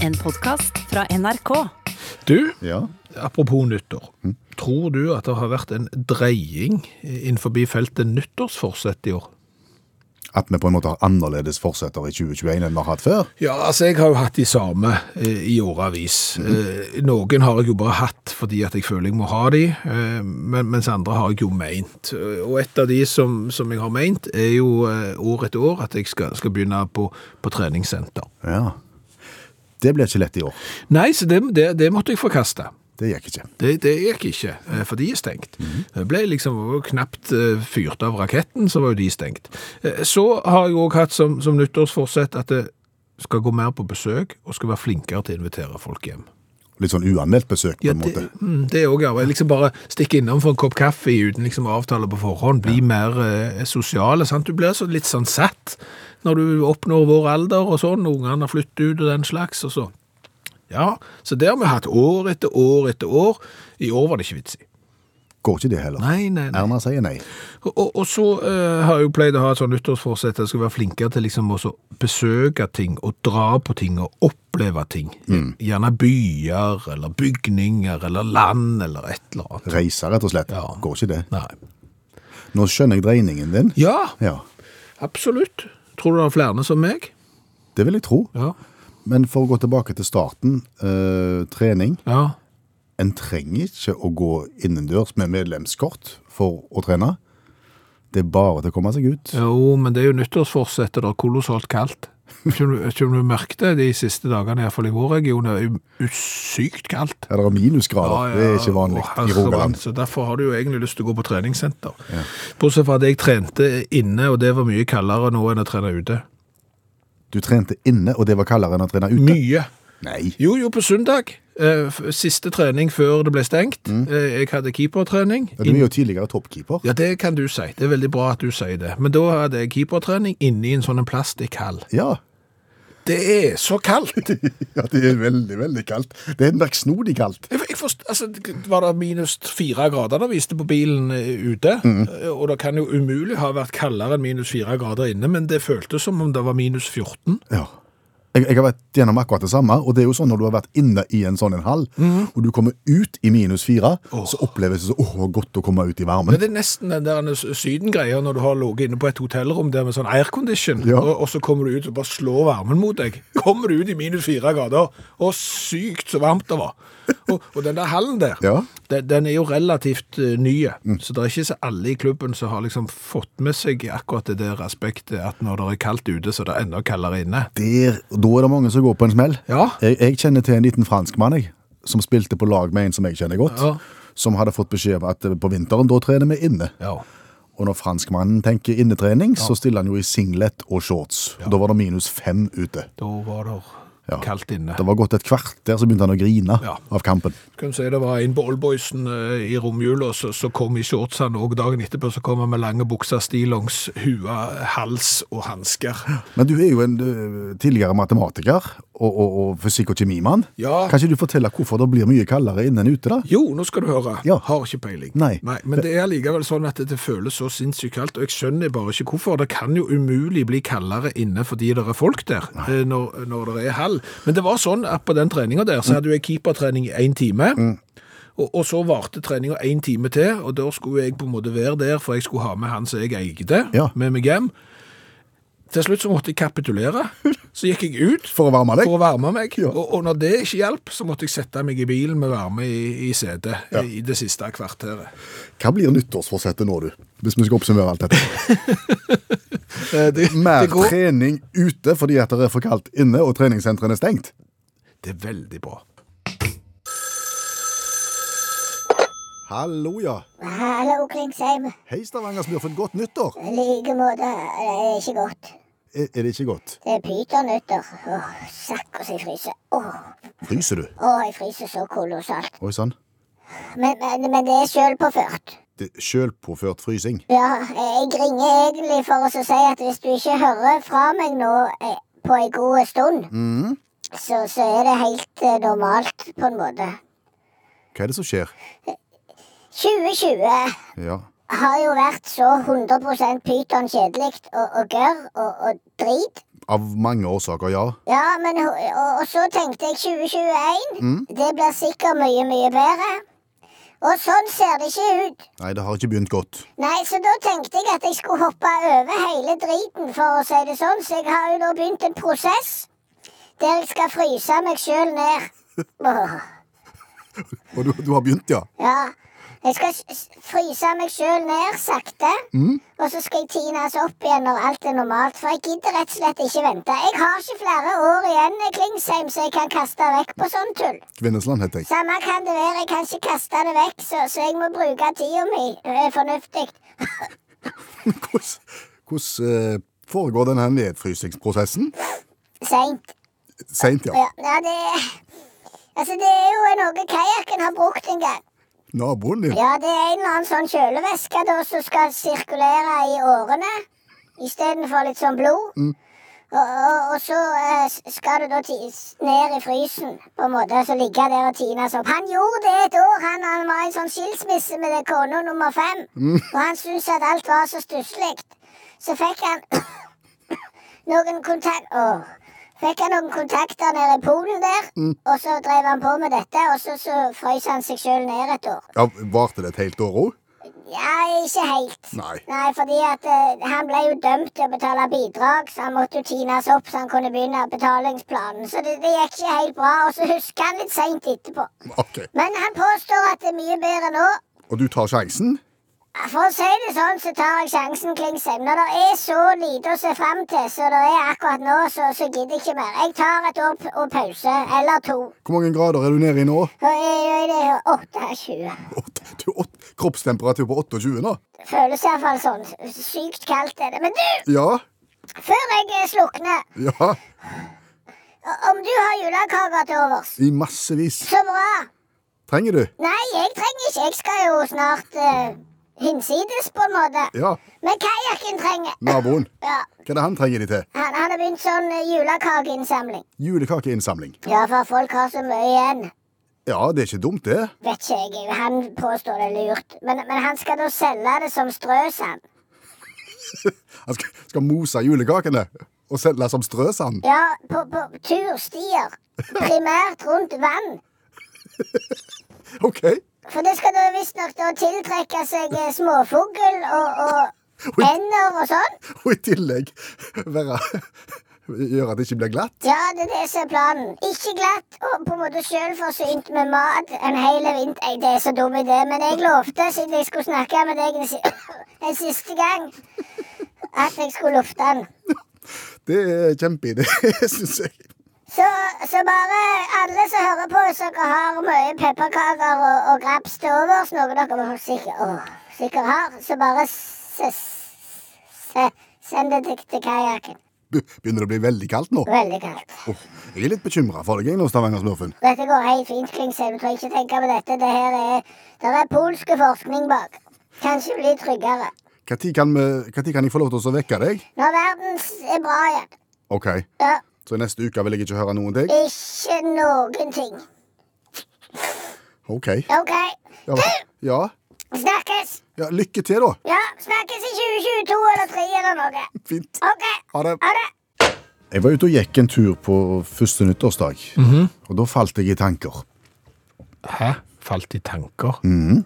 En podkast fra NRK. Du, Ja. apropos nyttår. Tror du at det har vært en dreying eh, innenfor feltet nyttårsforsett i år? At vi på en måte har annerledes fortsetter i 2021 enn vi har hatt før. Ja, altså jeg har jo hatt de samme eh, i åravis. Eh, noen har jeg jo bare hatt fordi at jeg føler jeg må ha de, eh, men, mens andre har jeg jo meint. Eh, Og et av de som, som jeg har meint er jo eh, år etter år at jeg skal, skal begynne på, på treningssenter. Ja. Det ble ikke lett i år. Nei, så det, det, det måtte jeg forkaste. Det gikk ikke. Det, det gikk ikke, eh, for de er stengt. Mhm. Jeg ble liksom knapt eh, fyrt av raketten, så var jo de stengt. Eh, Så har jeg òg hatt som, som nyttårsforsett at det skal gå mer på besøk, og skal være flinkere til å invitere folk hjem. Litt sånn uanmeldt besøk, på Ja, en det, måte. mm, det er òg arbeid. Liksom bare stikke innom for en kopp kaffe uten liksom avtale på forhånd. Bli mer eh, sosiale. sant? Du blir så litt sånn satt når du oppnår vår alder og sånn. Ungene har flyttet ut og den slags. og så. Ja, Så det har vi hatt år etter år etter år. I år var det ikke vits i. Går ikke det heller. Nei, nei, nei. Erna sier nei. Og, og- og så eh, har jeg jo pleid å ha et sånn nyttårsforsett at jeg skal være flinkere til liksom også besøke ting og dra på ting og oppleve ting. Mm. Gjerne byer eller bygninger eller land eller et eller annet. Reiser, rett og slett. Ja. Går ikke det. Nei. Nå skjønner jeg dreiningen din. Ja, Ja, absolutt. Tror du det er flere som meg? det vil jeg tro. Ja. Men for å gå tilbake til starten, eh, trening. Ja, En trenger ikke å gå innendørs med medlemskort for å trene. Det er bare til å komme seg ut. Jo, men det er jo nyttårsforsettet, da. Kolossalt kaldt. Kjenner du merket det de siste dagene, iallfall i vår region, det er jo sykt kaldt. Ja, det er minusgrader. Det er ikke vanlig Å, i herremann, Rogaland. Så derfor har du jo egentlig lyst til å gå på treningssenter. Bortsett fra at jeg trente inne, og det var mye kaldere nå enn å trene ute. Du trente inne, og det var kaldere enn å trene ute. Mye. Nei. Jo, jo, på søndag. eh, f- Siste trening før det ble stengt. Eh, Jeg hadde keepertrening. Mm. Ja, Du er jo tidligere toppkeeper. Ja, det kan du si. Det er veldig bra at du sier det. Men da hadde jeg keepertrening inni en sånn en plastikkhall. Ja. Det er så kaldt! ja, det er veldig, veldig kaldt. Det er merksnodig kaldt. Jeg jeg forst, altså, var det minus fire grader det viste på bilen eh, ute? Eh, Og det kan jo umulig ha vært kaldere enn minus fire grader inne, men det føltes som om det var minus 14. Ja. Jeg, jeg har vært gjennom akkurat det samme, og det er jo sånn når du har vært inne i en sånn en hall, Mhm. og du kommer ut i minus fire, så oppleves det så åh, godt å komme ut i Men varmen. det er nesten den der s- Syden-greia når du har ligget inne på et hotellrom der med sånn aircondition, Ja. og, og så kommer du ut og bare slår varmen mot deg. Kommer du ut i minus fire grader, og sykt så varmt det var. Og, og den der hallen der, Ja. Mm. den, den er jo relativt eh, ny, så det er ikke så alle i klubben som har liksom fått med seg akkurat det der aspektet at når det er kaldt ute, så er det enda kaldere inne. Der, da er det mange som går på en smell. Ja. Jeg, jeg kjenner til en liten franskmann, jeg, som spilte på lag med en som jeg kjenner godt, Ja. som hadde fått beskjed om at eh, på vinteren, da trener vi inne. Ja. Og når franskmannen tenker innetrening, så stiller han jo i singlet og shorts. Og Da var det minus fem ute. Da var det Ja. kaldt inne. Det var gått et kvarter, så begynte han å grine Ja. av kampen. Kan si det var en på Oldboysen eh, i romjula som som kom i shortsene, og dagen etterpå så kom han med lange bukser, stillongs, hue, hals og hansker. Men du er jo en ø, tidligere matematiker og, og, og fysikk- og kjemimann. Ja. Kan ikke du fortelle hvorfor det blir mye kaldere inne enn ute, da? Jo, nå skal du høre. Ja. Har ikke peiling. Nei. men det er likevel sånn at det føles så sinnssykt kaldt, og jeg skjønner bare ikke hvorfor. Det kan jo umulig bli kaldere inne fordi det er folk der, eh, når, når det er hall. Men det var sånn at på den treninga der, Mm. så hadde jo jeg keepertrening i én time. Og, og så varte treninga én time til, og da skulle jeg på en måte være der, for jeg skulle ha med han som jeg eide, Ja. med meg hjem. Til slutt så måtte jeg kapitulere. Så gikk jeg ut For å varme deg? for å varme meg. Ja. Og, og når det ikke hjalp, så måtte jeg sette meg i bilen med varme i, i setet i det siste kvarteret. Hva blir nyttårsforsettet nå, du? Hvis vi skal oppsummere alt dette. Eh, Det, Mer det, går, trening ute fordi at det er for kaldt inne og treningssentrene er stengt. det er veldig bra. Hallo, ja. Hallo, Klingsheim. Hei, Stavanger-smurfen. Godt nyttår. I like måte. Det er ikke godt. Er, er det ikke godt? Det er pytonnytter. Åh, sakkos, jeg fryser. Åh, Fryser du? åh, jeg fryser så kolossalt. Oi sånn. sann. Men, men, men det er sjølpåført. Det er Sjølpåført frysing. Ja, jeg ringer egentlig for å så si at hvis du ikke hører fra meg nå eh, på ei god stund, så, så er det helt eh, normalt, på en måte. Hva er det som skjer? 2020 Ja. har jo vært så 100 pyton kjedelig og, og gørr og, og drit Av mange årsaker, ja. Ja, men, ho- og, og så tenkte jeg 2021. Det blir sikkert mye, mye bedre. Og sånn ser det ikke ut. Nei, det har ikke begynt godt. Nei, så da tenkte jeg at jeg skulle hoppe over hele driten, for å si det sånn. Så jeg har jo da begynt en prosess der jeg skal fryse meg sjøl ned. Åh. Og du, du har begynt, ja. Ja. Jeg skal s- s- fryse meg sjøl ned sakte, og så skal jeg tines opp igjen når alt er normalt. For jeg gidder rett og slett ikke vente. Jeg har ikke flere år igjen i Klingsheim, så jeg kan kaste vekk på sånn tull. Kvinnesland heter jeg. Samme kan det være, jeg kan ikke kaste det vekk, så, så jeg må bruke tida mi ø, fornuftig. Hvordan, hvordan eh, foregår denne nedfrysingsprosessen? Seint. Seint, ja. Ja, ja, det Altså, det er jo noe kajakken har brukt en gang. Naboen din. Ja, det er en eller annen sånn kjølevæske da, som skal sirkulere i årene istedenfor litt sånn blod. Og, og, og så eh, s- skal du da ti s- ned i frysen, på en måte, og så ligge der og tines opp. Han gjorde det et år. Han, han var i en sånn skilsmisse med det kona nummer fem. Og han syntes at alt var så stusslig. Så fikk han noen kontakt... Åh. Fikk han noen kontakter nede i Polen der, og så drev han på med dette, og så, så frøs han seg sjøl ned et år. Ja, Varte det et helt år òg? Ja, ikke helt. Nei. fordi at eh, han ble jo dømt til å betale bidrag, så han måtte jo tines opp så han kunne begynne betalingsplanen. Så det, det gikk ikke helt bra, og så husker han litt seint etterpå. Ok. Men han påstår at det er mye bedre nå. Og du tar sjansen? For å si det sånn, så tar jeg sjansen, Klingsheim. Når det er så lite å se fram til som det er akkurat nå, så, så gidder jeg ikke mer. Jeg tar et år p- og pause, eller to. Hvor mange grader er du nede i nå? Og jeg- jeg er 28. Åt- du- åt- Kroppstemperatur på 28 nå? Føles iallfall sånn. Sykt kaldt er det. Men du, Ja. før jeg eh, slukner Ja. Om du har julekaker til overs, I massevis. så bra. Trenger du? Nei, jeg trenger ikke. Jeg skal jo snart eh, hinsides, på en måte. Ja. Men kajakken trenger Naboen. Ja, Hva er det han trenger de til? Han han har begynt sånn eh, julekakeinnsamling. Julekakeinnsamling. Ja, for folk har så mye igjen. Ja, det er ikke dumt, det. Vet ikke jeg. jeg- Han påstår det er lurt. Men, men han skal da selge det som strøsand. Han skal, skal mose julekakene og selge som strøsand. Ja, på, på turstier. Primært rundt vann. OK. For det skal da visstnok da tiltrekke seg eh, småfugl og, og Oi. ender og sånn. Og i tillegg være Gjøre at det ikke blir glatt. Ja, det er det som er planen. Ikke glatt og på en måte sjølforsynt med mat en hel vinter. Nei, Det er så dum idé, men jeg lovte siden jeg skulle snakke med deg en, si en siste gang, at jeg skulle lufte den. Det er kjempeidé, syns jeg. Så, så bare alle som hører på, så dere har mye pepperkaker og, og graps til overs, noe dere må sikkert, åh, sikkert har, så bare s s s send det til, til kajakken. Be- Begynner det å bli veldig kaldt nå? Veldig kaldt. Åh, jeg er litt bekymra for deg jeg, nå, Stavangersmurfen. Dette går helt fint, Klingsheim. Du trenger ikke tenke på dette. Det her er, der er polske forskning bak. Kanskje bli tryggere. Når kan, vi- hva tid kan jeg få lov til å vekke deg? Når verden s- er bra igjen. OK, Ja, så neste uke vil jeg ikke høre noen ting? ikke noen ting. OK. OK. Ja. ja. Snakkes. ja lykke til, da. Ja, snakkes i 2022 eller 2023 eller noe. Fint. OK. Ha det. Ha det. Jeg var ute og gikk en tur på første nyttårsdag, og da falt jeg i tanker. Hæ? Falt i tanker? Mhm.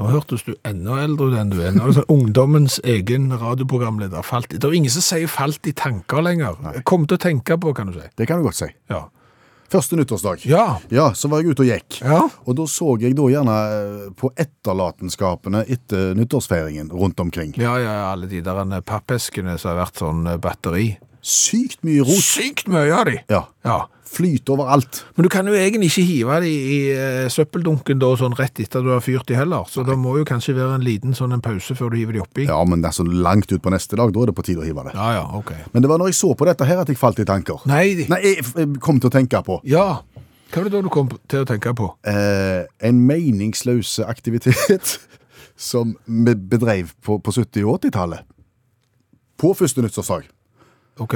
Nå hørtes du enda eldre ut enn du er. Nå er det sånn ungdommens egen radioprogramleder. Falt i. Det er jo ingen som sier 'falt i tanker' lenger. Kom til å tenke på, kan du si. Det kan du godt si. Ja. Første nyttårsdag. Ja. Ja, så var jeg ute og gikk. Ja. Og da så jeg da gjerne eh, på etterlatenskapene etter nyttårsfeiringen rundt omkring. Ja, ja, alle de der pappeskene som har vært sånn eh, batteri. Sykt mye rot. Sykt mye av de! Ja. Ja. Flyt overalt. Men du kan jo egentlig ikke hive det i, i eh, søppeldunken da, sånn rett etter du har fyrt de heller, så det må jo kanskje være en liten sånn en pause før du hiver de oppi. Ja, men det er så langt ut på neste dag, da er det på tide å hive det. ja, ja, ok. Men det var når jeg så på dette her at jeg falt i tanker. Nei, Nei, jeg f- jeg kom til å tenke på ja. Hva var det da du kom til å tenke på? eh, en meningsløse aktivitet som vi bedrev på, på 70- og 80-tallet. På første nyttårsdag. Ok.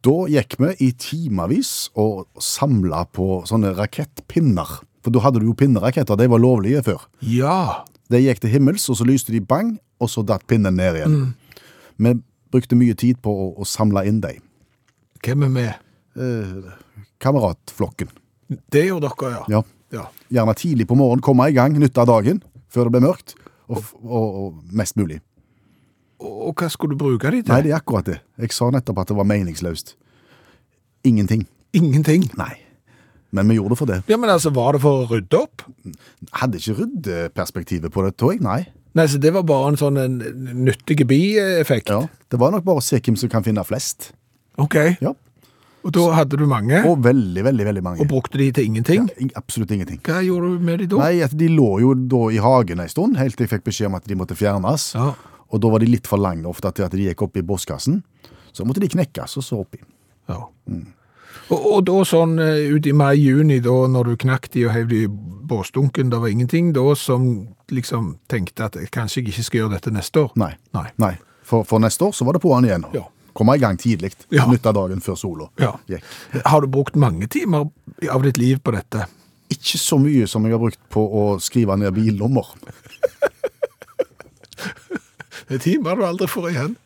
Da gikk vi i timevis og samla på sånne rakettpinner. For da hadde du jo pinneraketter, de var lovlige før. Ja. De gikk til himmels, og så lyste de bang, og så datt pinnen ned igjen. Vi brukte mye tid på å, å samle inn dem. Hvem er med? Eh, kameratflokken. Det gjør dere, ja. Ja. Gjerne tidlig på morgenen, komme i gang, nytte av dagen før det blir mørkt, og, f- og, og mest mulig. Og, og hva skulle du bruke de til? Nei, det er akkurat det. Jeg sa nettopp at det var meningsløst. Ingenting. Ingenting. Nei. Men vi gjorde det for det. Ja, men altså, Var det for å rydde opp? Hadde ikke ryddeperspektivet på det, tror jeg. Nei. Nei, så Det var bare en sånn en nyttig bieffekt? Ja. Det var nok bare å se hvem som kan finne flest. Ok, Ja. Og da hadde du mange, og, Og veldig, veldig veldig mange. brukte de til ingenting? Ing- Absolutt ingenting. Hva gjorde du med de da? Nei, at De lå jo da i hagen en stund, helt til jeg fikk beskjed om at de måtte fjernes. Ja. Og da var de litt for lange ofte til at de gikk opp i postkassen. Så måtte de knekkes og så oppi. Ja. Mm. Og, og da sånn eh, ut i mai-juni, da når du knakk de og heiv de i båsdunken, det var ingenting da som liksom tenkte at jeg kanskje jeg ikke skal gjøre dette neste år? Nei. Nei. Nei. For, for neste år så var det på'n igjen. Ja. Komme i gang tidlig. Ja. Nytte av dagen før sola Ja. gikk. Har du brukt mange timer av ditt liv på dette? Ikke så mye som jeg har brukt på å skrive ned bilnummer. Det er Eh, timer du aldri får igjen.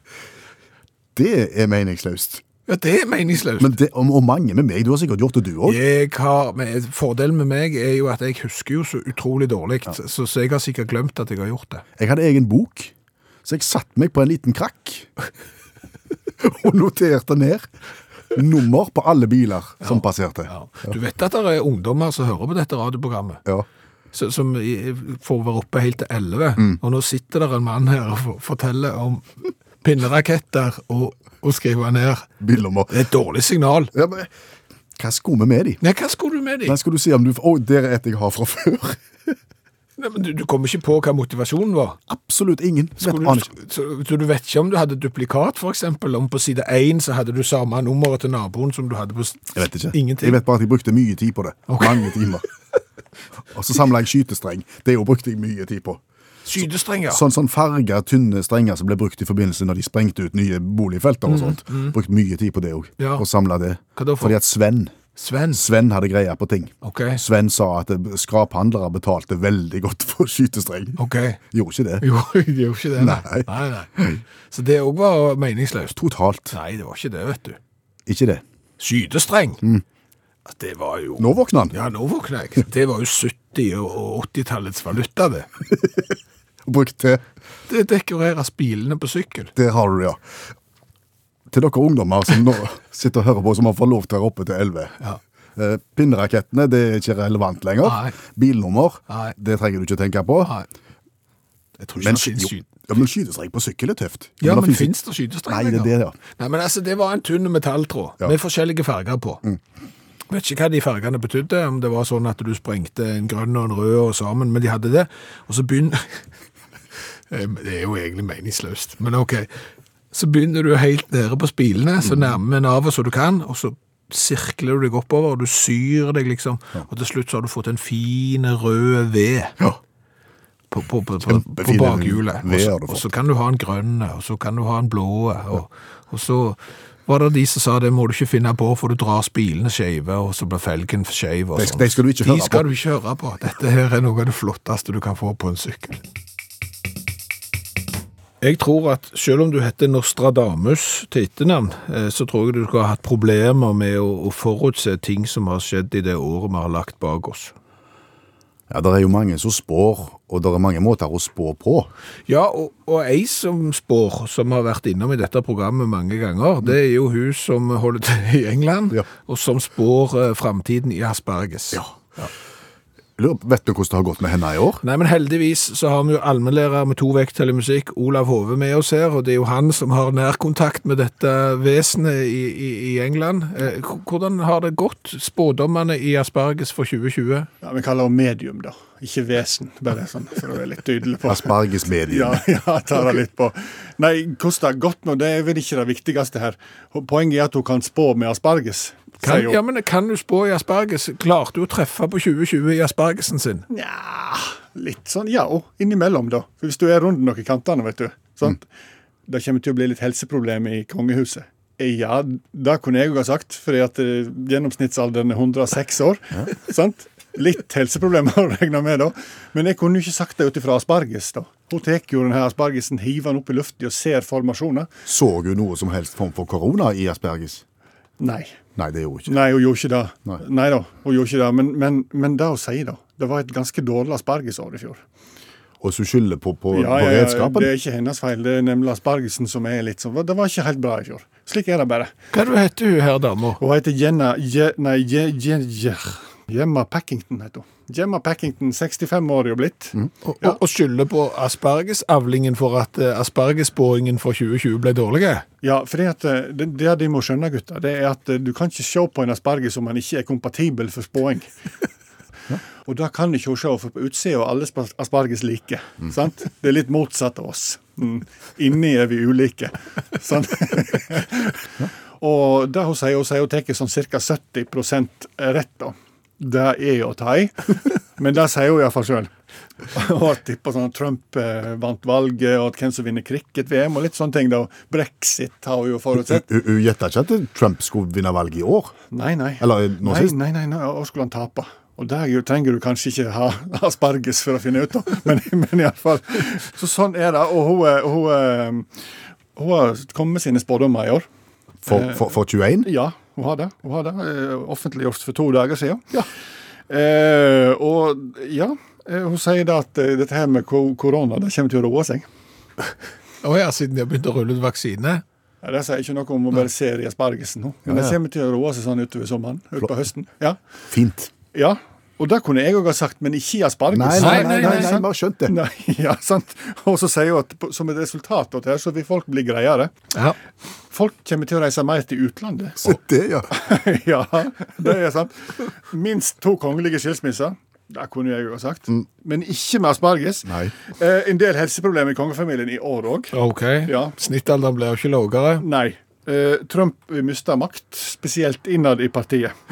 Det er meningsløst. Ja, det er meningsløst. Men det, og, og mange med meg. Du har sikkert gjort det, du òg. jeg har, men fordelen med meg er jo at jeg husker jo så utrolig dårlig, så, så jeg har sikkert glemt at jeg har gjort det. Jeg hadde egen bok, så jeg satte meg på en liten krakk og noterte ned nummer på alle biler som passerte. Ja. Du vet at det er ungdommer som hører på dette radioprogrammet? Ja. Så- som i- får være oppe helt til 11. Mm. Og nå sitter der en mann her og for- forteller om pinneraketter og, og skriver ned. Bilnummer. Det er et dårlig signal. Ja, men, hva skulle vi med de? Nei, hva skulle du med dem? Nei, skal du si om du Å, der er et jeg har fra før. Nei, men du, du kom ikke på hva motivasjonen var. Absolutt ingen. Vet, Skulle aner du, ikke. så, så du vet ikke om du hadde duplikat, for eksempel? Om på side 1 så hadde du samme nummeret til naboen som du hadde på s- Jeg vet ikke. Ingenting. Jeg vet bare at jeg brukte mye tid på det. Ok. Mange timer. Og så samla jeg skytestreng. Det jo brukte jeg mye tid på. Sydestrenger. Sånn, sånn farga, tynne strenger som ble brukt i forbindelse når de sprengte ut nye boligfelter og sånt. Brukt mye tid på det òg. Mm, Ja. Og samla det. Hva da for? Fordi at Sven Sven. Sven hadde greie på ting. Ok. Sven sa at eh, skraphandlere betalte veldig godt for skytestreng. Ok. Gjorde ikke det. Jo, jeg gjorde ikke det, nei. nei. nei. Så det òg var meningsløst. Totalt Nei, det var ikke det, vet du. ikke det. sydestreng. Mm. At Det var jo Nå våkna han Ja, nå våkner jeg. Det var jo 70- og 80-tallets valuta, det. og brukte Det dekoreres bilene på sykkel. Det har du, ja. Til dere ungdommer som nå sitter og hører på, som har fått lov til å være oppe til 11. Ja. Eh, Pinnerakettene det er ikke relevant lenger. Nei. Bilnummer Nei. det trenger du ikke å tenke på. Nei. Jeg tror ikke Men, det sky- finnes jo, syd... ja, men skytestrek på sykkel er tøft. Ja, men det fins det skydestreng Nei, det er det, ja. Nei, men altså, det var en tynn metalltråd Ja. Mm. med forskjellige farger på. Vet ikke hva de fargene betydde, om det var sånn at du sprengte en grønn og en rød og sammen, men de hadde det. Og så begynner Det er jo egentlig meningsløst, men OK. Så begynner du helt nede på spilene, Mm. så nærme navet som du kan, og så sirkler du deg oppover, og du syr deg, liksom. Og til slutt så har du fått en fin, rød ved Ja. på, på, på, på, på Kjempefine bakhjulet. Og veer så- har du Og så fått. kan du ha en grønn, og så kan du ha en blå. Og, og så var det de som sa det må du ikke finne på, for du drar spilene skeive, og så blir felgen skeiv. og De- sånn. de skal du ikke høre De skal på. du ikke høre på. Dette her er noe av det flotteste du kan få på en sykkel. Jeg tror at selv om du heter Nostradamus til etternavn, eh, så tror jeg du skal ha hatt problemer med å, å forutse ting som har skjedd i det året vi har lagt bak oss. Ja, det er jo mange som spår, og det er mange måter å spå på. Ja, og, og ei som spår, som har vært innom i dette programmet mange ganger, det er jo hun som holder til i England, Ja. og som spår eh, framtiden i asparges. Lurer, på- vet du hvordan det har gått med henne i år? Nei, men heldigvis så har vi jo allmennlærer med to vekttall i musikk, Olav Hove, med oss her, og det er jo han som har nærkontakt med dette vesenet i, i, i England. Eh, h- Hvordan har det gått, spådommene i asparges for 2020? Ja, Vi kaller det medium, da. Ikke vesen, bare sånn, så det er litt tydelig på. Aspargesmedium. Ja, ja, ta det litt på. Nei, hvordan det har gått nå, det er vel ikke det viktigste her. Poenget er at hun kan spå med asparges. Kan, sier hun. ja, men kan du spå i asparges? Klarte du å treffe på 2020 i aspargesen sin? Nja, litt sånn, ja, og innimellom, da. For hvis du er rundt noen kantene, vet du. Sant? Det kommer til å bli litt helseproblemer i kongehuset. Eh, Ja, det kunne jeg òg ha sagt, fordi at eh, gjennomsnittsalderen er 106 år. sant? Litt helseproblemer å regne med, da. Men jeg kunne jo ikke sagt det ut ifra asparges, da. Hun tar jo den her aspargesen, hiver den opp i lufta og ser formasjoner. Så hun noe som helst form for korona i asperges? Nei. Nei, det gjorde hun ikke. Nei, hun gjorde ikke det. Nei. da, hun gjorde ikke det. Men, men, men det hun sier, da. Det var et ganske dårlig aspargesår i fjor. Og så skylder på, på, Ja, på ja, ja, redskapen. det er ikke hennes feil. Det er nemlig aspargesen som er litt sånn Det var ikke helt bra i fjor. Slik er det bare. Hva er det du heter hun her, dama? Hun heter Jenna Je, Nei, Je, Je, Je, Gemma Packington heter hun. Gemma Packington, 65 år er hun blitt. Og, og, og skylder på aspargesavlingen for at eh, aspargesbåringen for 2020 ble dårlig? Ja, fordi at eh, det, det de må skjønne, gutter, det er at eh, du kan ikke se på en asparges om han ikke er kompatibel for spåing. Og det kan ikke hun se, for på utsida er alle spa- asparges like. sant? Det er litt motsatt av oss. Mm. Inni er vi ulike. sant? Og det hun sier, hun sier hun tar sånn ca. 70 rett, da. Det er jo å ta i, men det sier hun iallfall sjøl. Og at tipper sånn at Trump eh, vant valget, og at hvem som vinner cricket-VM, og litt sånne ting. da. Brexit har hun jo forutsett. Hun hun gjetta ikke at Trump skulle vinne valget i år. Nei, nei. Eller eh, nå nei, sist? Nei, nei, nei, og skulle han tape. Og der jo- trenger du kanskje ikke ha asparges for å finne ut av, men, men iallfall. Så sånn er det. Og hun, eh, hun, eh, hun har kommet med sine spådommer i år. For, Eh. for, for 21? Ja, hun har det. Hun har det. eh, Offentliggjort for to dager siden. Eh, og ja, eh, hun sier da at eh, dette her med ko- korona, det kommer til å roe seg. Å ja, siden de har begynt å rulle ut vaksine? Ja, det sier ikke noe om å bare se i aspargesen nå, men det Ja, ja. kommer til å roe seg sånn utover sommeren, utpå høsten. Ja. Fint. Ja, og det kunne jeg òg ha sagt, men ikke i asparges. Nei, nei, nei, nei, nei, sant? vi har skjønt det. Nei, ja, sant. Og så sier hun at på- som et resultat av det her, så vil folk bli greiere. Ja. Folk kommer til å reise mer til utlandet. Så det, ja. ja, det er sant. Minst to kongelige skilsmisser. Det kunne jeg jo ha sagt. Men ikke med asparges. Nei. Eh, en del helseproblemer i kongefamilien i år òg. OK. Ja. Snittalderen blir jo ikke lavere. Nei. Eh, Trump mista makt, spesielt innad i partiet.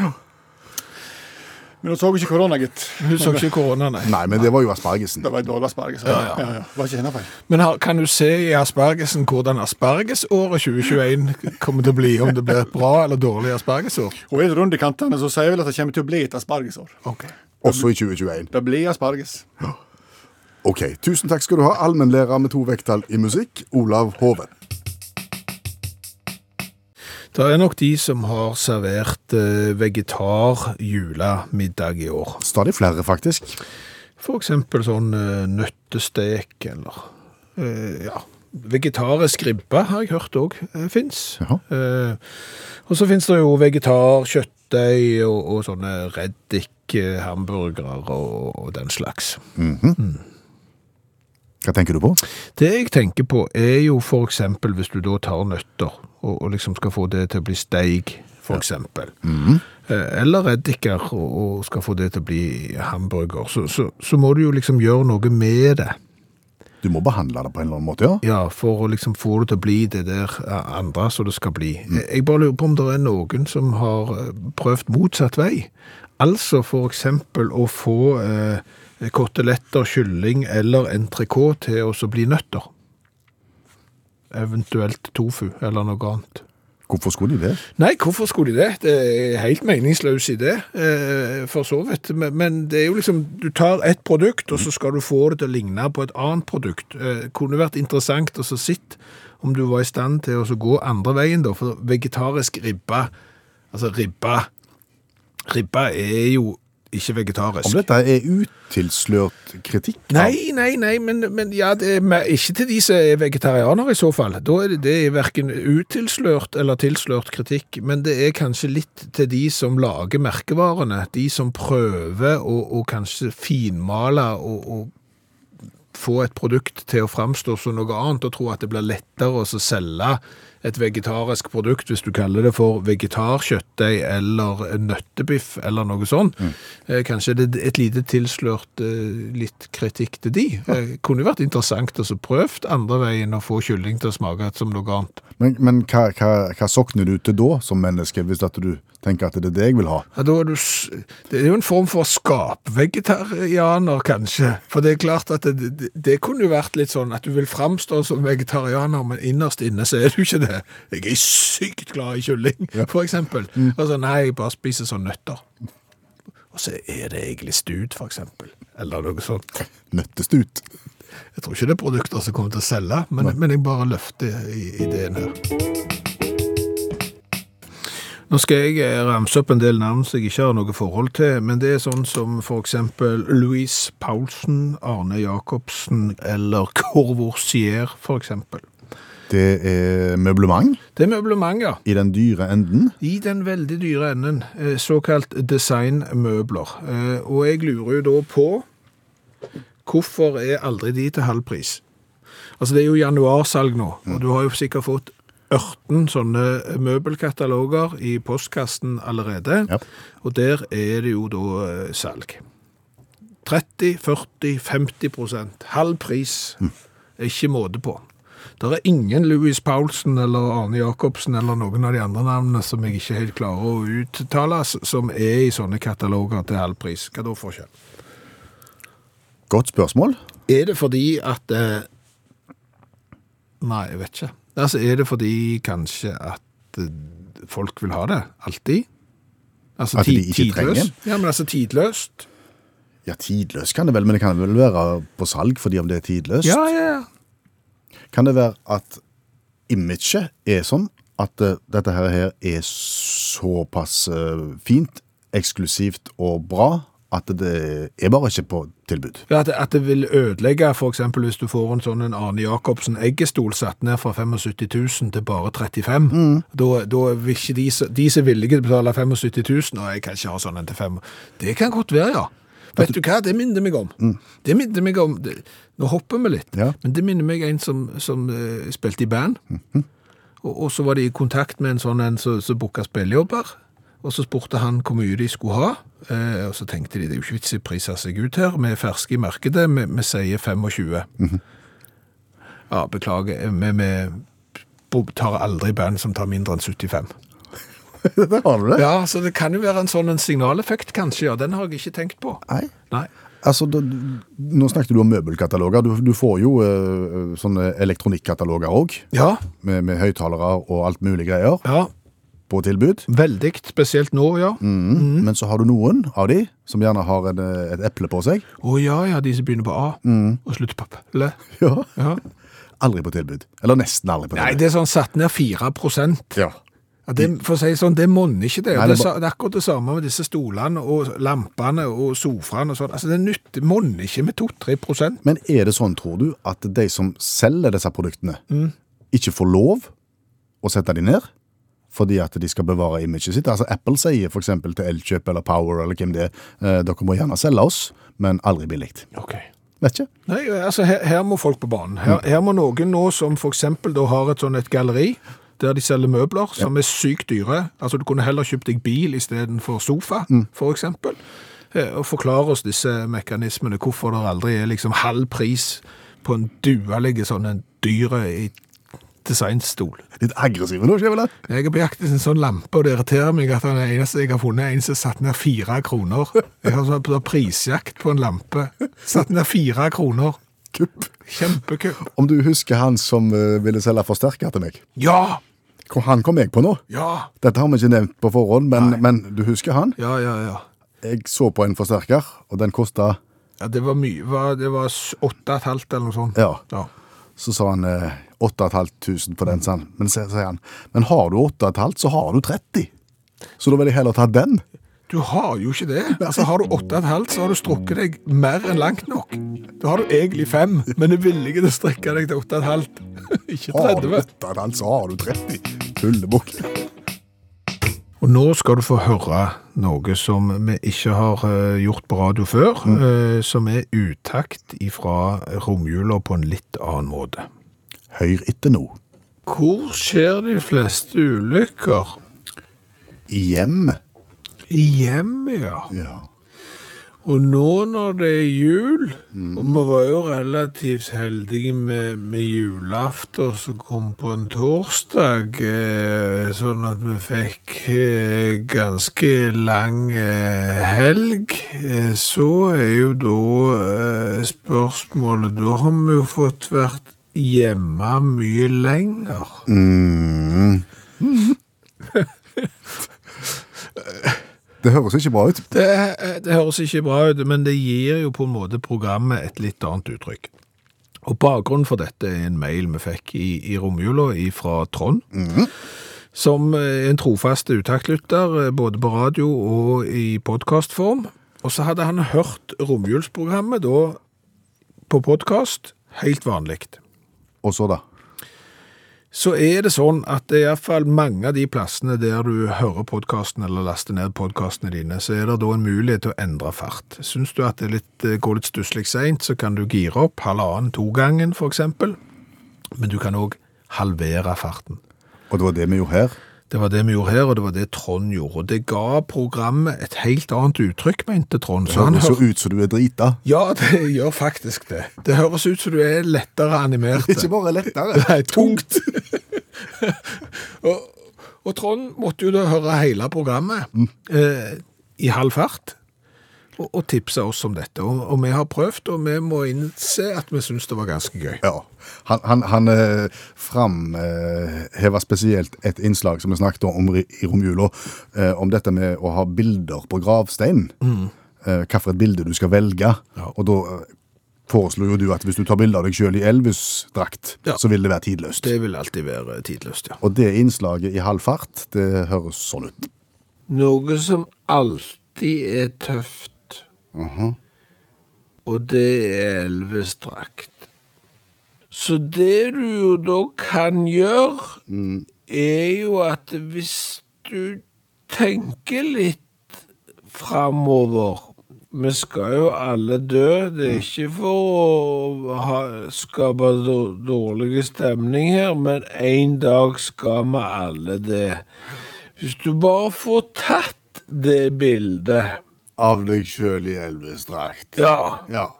Men hun så ikke korona, gitt. Hun så ikke korona, nei. Nei, men det var jo aspargesen. Det var en dårlig asparges. Ja, ja. Ja, Var ikke hennes feil. Men har- kan du se i aspargesen hvordan aspargesåret 2021 kommer til å bli? Om det blir et bra eller dårlig aspargesår? Hun er rund i kantene, så sier vel at det kommer til å bli et aspargesår. Ok. Også i 2021. Det blir asparges. Ok, tusen takk skal du ha, allmennlærer med to vekttall i musikk, Olav Hove. Det er nok de som har servert eh, vegetarjulemiddag i år. Stadig flere, faktisk. For eksempel sånn eh, nøttestek eller eh, ja. Vegetarisk ribbe har jeg hørt òg fins. Jaha. Eh, og så fins det jo vegetarkjøttdeig og, og sånne reddik-hamburgere og, og den slags. Hva tenker du på? Det jeg tenker på er jo for eksempel hvis du da tar nøtter og, og liksom skal få det til å bli steig, for eksempel. Eh, Eller reddiker og, og skal få det til å bli hamburger. Så, så, så må du jo liksom gjøre noe med det. Du må behandle det på en eller annen måte, ja? Ja, for å liksom få det til å bli det der eh, andre som det skal bli. Eh, Jeg bare lurer på om det er noen som har eh, prøvd motsatt vei. Altså for eksempel å få eh, koteletter, kylling eller entrecôte til å så bli nøtter. Eventuelt tofu eller noe annet. Hvorfor skulle de det? Nei, hvorfor skulle de det? Det er helt meningsløs idé, eh, for så vidt. Men, men det er jo liksom, du tar et produkt, og så skal du få det til å ligne på et annet produkt. Eh, kunne vært interessant å så sitte om du var i stand til å så gå andre veien, da. For vegetarisk ribba, altså ribba Ribba er jo ikke vegetarisk. Om dette er utilslørt kritikk? Nei, nei, nei, men, men ja, det er mer- ikke til de som er vegetarianere i så fall. Da er det, det er hverken utilslørt eller tilslørt kritikk, men det er kanskje litt til de som lager merkevarene, de som prøver å, å kanskje finmale og, og få et produkt til å framstå som noe annet, og tro at det blir lettere å så selge et vegetarisk produkt hvis du kaller det for vegetarkjøttdeig eller nøttebiff eller noe sånt. Eh, Kanskje det er et lite tilslørt eh, litt kritikk til de. Eh, Kunne jo vært interessant å så prøvd andre veien å få kylling til å smake som noe annet. Men, men hva, hva, hva sokner du til da, som menneske, hvis at du tenker at det er det jeg vil ha? Ja, da er du, s- det er jo en form for skapvegetarianer, kanskje. For det er klart at det, det, det kunne jo vært litt sånn at du vil framstå som vegetarianer, men innerst inne så er du ikke det. Jeg er sykt glad i kylling, for eksempel. Altså, nei, jeg bare spiser sånn nøtter. Og så er det egentlig stud, for eksempel. Eller noe sånt. Nøttestut. Jeg tror ikke det er produkter som kommer til å selge, men, men jeg bare løfter i- ideen her. Nå skal jeg eh, ramse opp en del navn som jeg ikke har noe forhold til, men det er sånn som for eksempel Louise Paulsen, Arne Jacobsen eller Corvoisier, for eksempel. Det er møblement Det er møblement, ja. i den dyre enden. I den veldig dyre enden, eh, såkalt designmøbler. Eh, Og jeg lurer jo da på hvorfor er aldri de til halv pris? Altså, det er jo januarsalg nå, og du har jo sikkert fått ørten sånne møbelkataloger i postkassen allerede, Ja. og der er det jo da eh, salg. 30, 40, 50 prosent, halv pris, er ikke måte på. Det er ingen Louis Paulsen eller Arne Jacobsen eller noen av de andre navnene som jeg ikke helt klarer å uttale, s- som er i sånne kataloger til halv pris. Hva da forskjell? Godt spørsmål. Er det fordi at eh, Nei, jeg vet ikke. Altså, er det fordi kanskje at eh, folk vil ha det? Alltid? Altså, At de tid- ikke trenger tidløs? det? Ja, men altså tidløst? Ja, tidløs kan det vel, men det kan vel være på salg fordi om det er tidløst. Ja, ja, ja. Kan det være at imaget er sånn at eh, dette her, her er såpass eh, fint, eksklusivt og bra, at det er bare ikke på tilbud? Ja, At, at det vil ødelegge, for eksempel hvis du får en sånn en Arne Jacobsen eggestol satt ned fra 75 000 til bare 35 da, da vil ikke de, som- de som er villige til å betale 75 000, og jeg kan ikke ha sånn en til 5 Det kan godt være, ja. Vet du Mm. hva, det minner meg om. Det minner meg om, det, nå hopper vi litt, Ja. men det minner meg en som, som eh, spilte i band, og, og så var de i kontakt med en sånn en som som booka spillejobber. Og så spurte han hvor mye de skulle ha. Eh, og så tenkte de det er jo ikke vits i å prise seg ut her, vi er ferske i markedet, vi, vi sier 25. Ja, beklager, eh, vi, vi bo- tar aldri band som tar mindre enn 75. Der har du det. Ja, så det kan jo være en sånn en signaleffekt, kanskje. Ja, den har jeg ikke tenkt på. Nei. Nei. Altså, da, nå snakket du om møbelkataloger. Du, du får jo eh, sånne elektronikkataloger òg, Ja, med, med høyttalere og alt mulig greier ja, på tilbud. Mm. veldig. Spesielt nå, ja. Å Men så har du noen av de som gjerne har en, eh, et eple på seg. ja, ja, de som begynner på A og slutter på P. Ja. Ja. Aldri på tilbud. Eller nesten aldri på Nei, tilbud. det er sånn satt ned 4 Ja. Ja, det, for å si det sånn, det monner ikke det. Nei, Og det, er det må- sa- det er akkurat det samme med disse stolene og lampene og sofaene og sånn. Altså, det er nytt, det monner ikke med 2-3 prosent. Men er det sånn, tror du, at de som selger disse produktene, ikke får lov å sette de ned? Fordi at de skal bevare imaget sitt. Altså Apple sier f.eks. til Elkjøp eller Power eller hvem det er, eh, dere må gjerne selge oss, men aldri billig. Ok. Vet ikke. Nei, altså, her, her må folk på banen. Her, her må noen nå som for eksempel da har et sånn et galleri, der de selger møbler som er sykt dyre. Altså, du kunne heller kjøpt deg bil i stedet for sofa, for eksempel. Eh, Og forklare oss disse mekanismene, hvorfor det aldri er liksom halv pris på en dualig sånn en dyre i designstol. Litt aggressive nå, Skjæveland. Jeg er på jakt etter en sånn lampe, og det irriterer meg at den eneste jeg har funnet, er en som satt ned fire kroner. Jeg har sånn på prisjakt på en lampe. Satt ned fire kroner. Kupp. Kjempekupp. Om du husker han som eh, ville selge forsterker til meg? Ja! Kom- Han kom jeg på nå. Ja! Dette har vi ikke nevnt på forhånd, men, men du husker han? Ja, ja, ja. Jeg så på en forsterker, og den kosta ja det var mye. Hva- Det var s- åtte og et halvt eller noe sånt. Ja. ja. Så sa han eh, 8500 på den, sa han. Men så sier han, men har du 8500, så har du 30. Så da vil jeg heller ta den. Du har jo ikke det. Altså, har du åtte og et halvt, så har du strukket deg mer enn langt nok. Da har du egentlig fem, men er villig til å strekke deg til åtte og et halvt. Ikke Har du 30. 8500, så har du 30. Tullebukk. Og nå skal du få høre noe som vi ikke har eh, gjort på radio før, eh, som er utakt ifra romjula på en litt annen måte. Hør etter nå. Hvor skjer de fleste ulykker? I hjem. I hjemmet, ja. Ja. Og nå når det er jul, og vi var jo relativt heldige med, med julaften som kom på en torsdag, eh, sånn at vi fikk eh, ganske lang eh, helg, eh, så er jo da eh, spørsmålet Da har vi jo fått vært hjemme mye lenger. Mm. Det høres ikke bra ut. Det, eh, det høres ikke bra ut, men det gir jo på en måte programmet et litt annet uttrykk. Og bakgrunnen for dette er en mail vi fikk i, i romjula fra Trond, som eh, en trofast utaktlytter, eh, både på radio og i podkastform. Og så hadde han hørt romjulsprogrammet da på podkast, helt vanlig. Og så, da? Så er det sånn at det er iallfall mange av de plassene der du hører podkasten eller laster ned podkastene dine, så er det da en mulighet til å endre fart. Syns du at det er litt, eh, går litt stusslig seint, så kan du gire opp halvannen-to gangen f.eks. Men du kan òg halvere farten. Og det var det vi gjorde her. Det var det vi gjorde her, og det var det Trond gjorde. Og det ga programmet et helt annet uttrykk, mente Trond. Det Så han høres jo hør... ut som du er drita. Ja, det gjør faktisk det. Det høres ut som du er lettere animert. Ikke bare lettere. Nei, tungt. og, og Trond måtte jo da høre hele programmet eh, i halv fart. Og, og tipse oss om dette. Og, og vi har prøvd, og vi må innse at vi syns det var ganske gøy. Ja. Han, han, han eh, framheva spesielt et innslag som vi snakket om i i romjula, eh, om dette med å ha bilder på gravsteinen. Mm. Eh, Hvilket bilde du skal velge. Og da eh, foreslo jo du at hvis du tar bilde av deg sjøl i Elvis-drakt, Ja. så vil det være tidløst. Det vil alltid være tidløst, ja. Og det innslaget i halv fart, det høres sånn ut. Noe som alltid er tøft. Og det er Elvis-drakt. Så det du jo da kan gjøre, er jo at hvis du tenker litt framover Vi skal jo alle dø. Det er ikke for å ha, skape dår- dårlig stemning her, men en dag skal vi alle det. Hvis du bare får tatt det bildet, Av deg sjøl i Elvis-drakt. ja, Ja.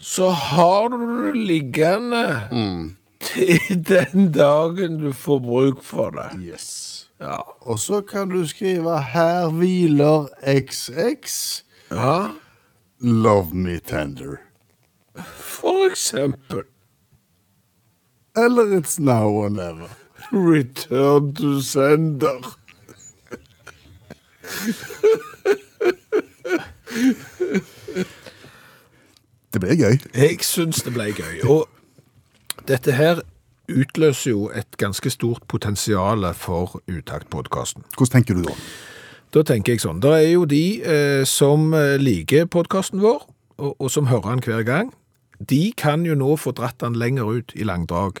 så har du det liggende til den dagen du får bruk for det. Yes. Ja. Og så kan du skrive 'Her hviler XX'. ja, Love me tender. for eksempel Eller it's now or never. Return to sender. Det blir gøy. Jeg syns det ble gøy. Og dette her utløser jo et ganske stort potensial for Utakt-podkasten. Hvordan tenker du da? Da tenker jeg sånn, det er jo de eh, som eh, liker podkasten vår, og, og som hører den hver gang. De kan jo nå få dratt den lenger ut i langdrag.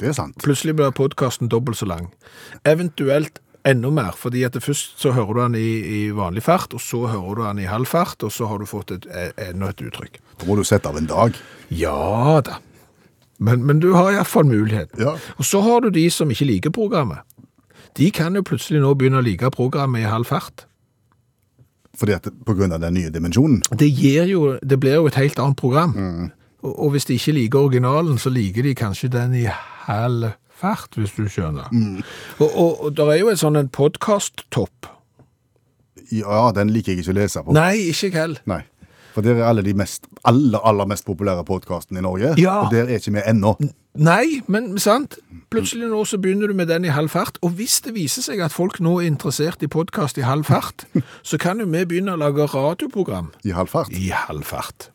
Det er sant. Plutselig blir podkasten dobbelt så lang. Eventuelt enda mer, fordi at det først så hører du den i, i vanlig fart, og så hører du den i halv fart, og så har du fått et, eh, enda et uttrykk. Da må du sette av en dag. Ja da. Men, men du har iallfall muligheten. Ja. Og så har du de som ikke liker programmet. De kan jo plutselig nå begynne å like programmet i halv fart. Fordi at På grunn av den nye dimensjonen. Det, gir jo, det blir jo et helt annet program. Og, og hvis de ikke liker originalen, så liker de kanskje den i halv fart, hvis du skjønner. Og, og, og det er jo en sånn en podkast-topp. Ja, den liker jeg ikke å lese på. Nei, ikke jeg heller. Nei. For der er alle de mest, aller, aller mest populære podkastene i Norge. Ja. Og der er ikke vi ennå. Nei, men sant. Plutselig nå så begynner du med den i halv fart, og hvis det viser seg at folk nå er interessert i podkast i halv fart, så kan jo vi begynne å lage radioprogram I halv fart. i halv fart.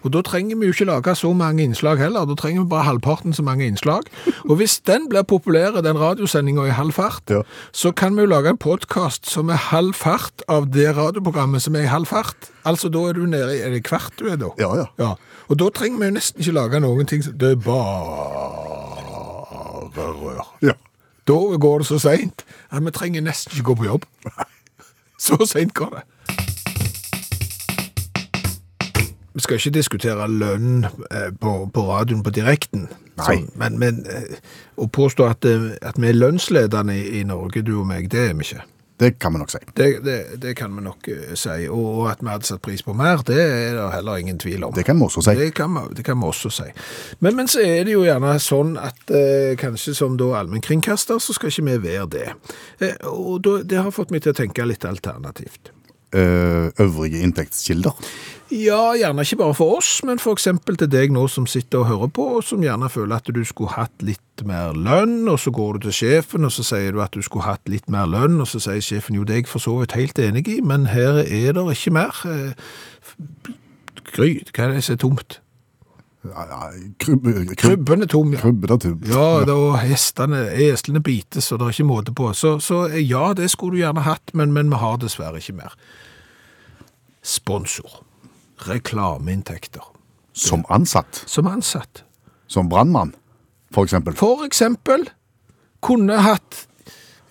Og da trenger vi jo ikke lage så mange innslag heller, da trenger vi bare halvparten så mange innslag. Og hvis den blir populær, den radiosendinga i halv fart, Ja. så kan vi jo lage en podkast som er halv fart av det radioprogrammet som er i halv fart. Altså da er du nede i er det kvart du er da. Ja, ja. Ja, og da trenger vi jo nesten ikke lage noen ting. som- Det er bare rør. Ja. Da går det så seint at vi trenger nesten ikke gå på jobb. Så seint går det. Vi skal ikke diskutere lønn eh, på, på radioen på direkten, Nei. Sånn, men, men eh, å påstå at, eh, at vi er lønnsledende i, i Norge, du og meg, det er vi ikke. Det kan vi nok si. Det, det, det kan vi nok eh, si. Og, og at vi hadde satt pris på mer, det er det heller ingen tvil om. Det kan vi også si. Det kan, man- det kan man også si. Men, men så er det jo gjerne sånn at eh, kanskje som da allmennkringkaster, så skal ikke vi være det. Eh, og da, det har fått meg til å tenke litt alternativt. Eh, øvrige inntektskilder. Ja, gjerne ikke bare for oss, men for eksempel til deg nå som sitter og hører på, og som gjerne føler at du skulle hatt litt mer lønn, og så går du til sjefen, og så sier du at du skulle hatt litt mer lønn, og så sier sjefen jo det er jeg for så vidt helt enig i, men her er det ikke mer. Eh, f- Gry, hva er det som er tomt? Ja, ja, Krubbe, krubbe, Krubben er tom, ja. krubbe og tubb. Ja, da, og hestene, eslene bites, og det er ikke måte på. Så, så eh, ja, det skulle du gjerne hatt, men, men vi har dessverre ikke mer. Sponsor. Reklameinntekter. Som ansatt. Som ansatt. Som brannmann, for eksempel. For eksempel kunne hatt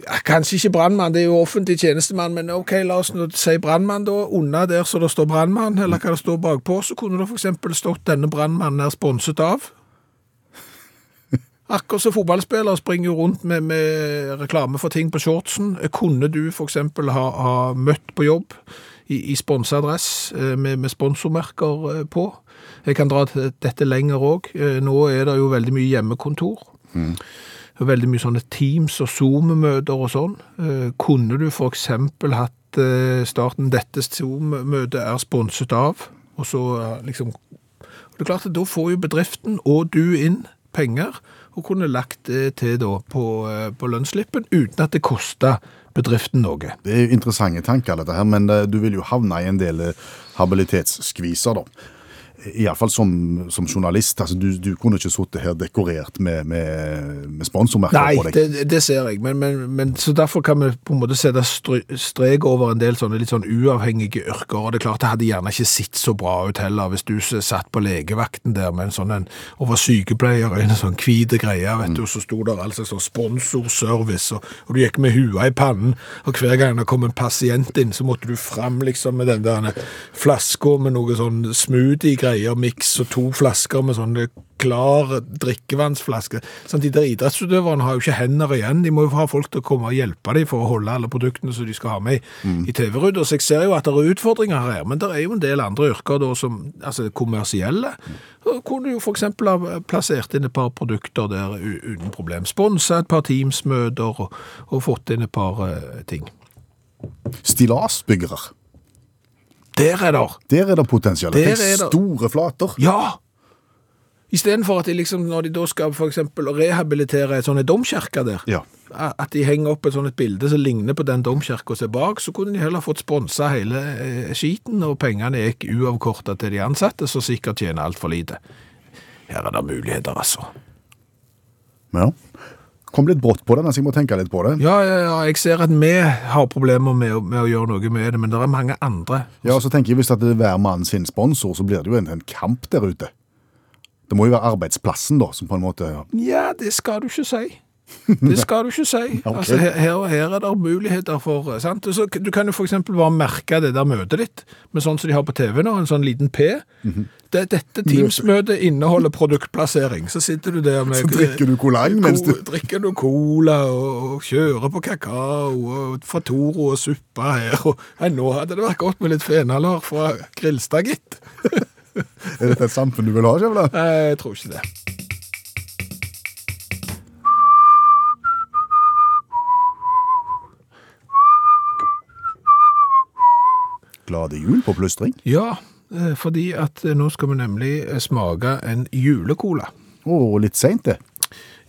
ja, Kanskje ikke brannmann, det er jo offentlig tjenestemann, men ok, la oss nå si brannmann, da. Unna der så det står brannmann, eller hva det står bakpå, så kunne det f.eks. stått 'denne brannmannen er sponset av'. Akkurat som fotballspillere springer jo rundt med, med reklame for ting på shortsen. Kunne du f.eks. Ha, ha møtt på jobb i, i sponsa dress eh, med, med sponsormerker eh, på? Jeg kan dra til dette lenger òg. Nå er det jo veldig mye hjemmekontor. Det er Veldig mye sånne Teams og Zoom-møter og sånn. Eh, Kunne du for eksempel hatt eh, starten 'Dette Zoom-møtet er sponset av', og så eh, liksom og det er klart at Da får jo bedriften og du inn penger, og kunne lagt det til da på, eh, på lønnsslippen uten at det kosta bedriften noe. Det er jo interessante tanker, dette her, men eh, du vil jo havne i en del eh, habilitetsskviser, da. Iallfall som, som journalist. altså Du, du kunne ikke sittet her dekorert med, med, med sponsormerker Nei, på deg. det, det ser jeg, men, men, men så derfor kan vi på en måte sette stry- strek over en del sånne litt sånn uavhengige yrker, og det er klart det hadde gjerne ikke sett så bra ut heller hvis du s- satt på legevakten der med en sånn en, og var sykepleier i en sånn hvite greie, vet du, og så sto der altså sånn sponsorservice, og, og du gikk med hua i pannen, og hver gang det kom en pasient inn, så måtte du fram liksom med den der flaska med noe sånn smoothie-greier, miks og to flasker med sånne klar drikkevannsflaske. Sånn, de der idrettsutøverne har jo ikke hender igjen. De må jo ha folk til å komme og hjelpe dem for å holde alle produktene som de skal ha med i- i TV-ruta. Så jeg ser jo at det er utfordringer her, men det er jo en del andre yrker da som altså kommersielle. Da kunne du jo f.eks. ha plassert inn et par produkter der u- uten problem. Sponsa et par Teams-møter og, og fått inn et par eh, ting. Stillasbyggere. Der er det! Der er det potensial. Der Tenk er det- store flater. Ja! Istedenfor at de liksom, når de da skal for eksempel rehabilitere et sånne domkirke der, Ja. at de henger opp et sånt et bilde som ligner på den domkirka som er bak, så kunne de heller fått sponsa hele eh, skiten, og pengene gikk uavkorta til de ansatte, som sikkert tjener altfor lite. Her er det muligheter, altså. ja. Kom litt brått på den, så jeg må tenke litt på det. Ja, ja, ja, jeg ser at vi har problemer med, å- med å gjøre noe med det, men det er mange andre. Ja, og så tenker jeg Hvis at det er hver mann sin sponsor, så blir det jo en, en kamp der ute. Det må jo være arbeidsplassen, da, som på en måte Ja, det skal du ikke si. Det skal du ikke si. Ok. altså, her, her, her er det muligheter for eh, sant? Så, Du kan jo for eksempel bare merke det der møtet ditt, med sånn som de har på TV nå, en sånn liten P. Mhm. det, dette Teams-møtet inneholder produktplassering. Så sitter du der med Så drikker du kolang mens du Ko, drikker du cola og, og kjører på kakao og fra Toro og suppe her. Og, nei, nå hadde det vært godt med litt fenalår fra Grilstad, gitt. Er dette et samfunn du vil ha, Kjevla? Nei, jeg tror ikke det. Glade jul på plystring. Ja, eh, fordi at eh, nå skal vi nemlig eh, smake en julekola. Og litt seint, det.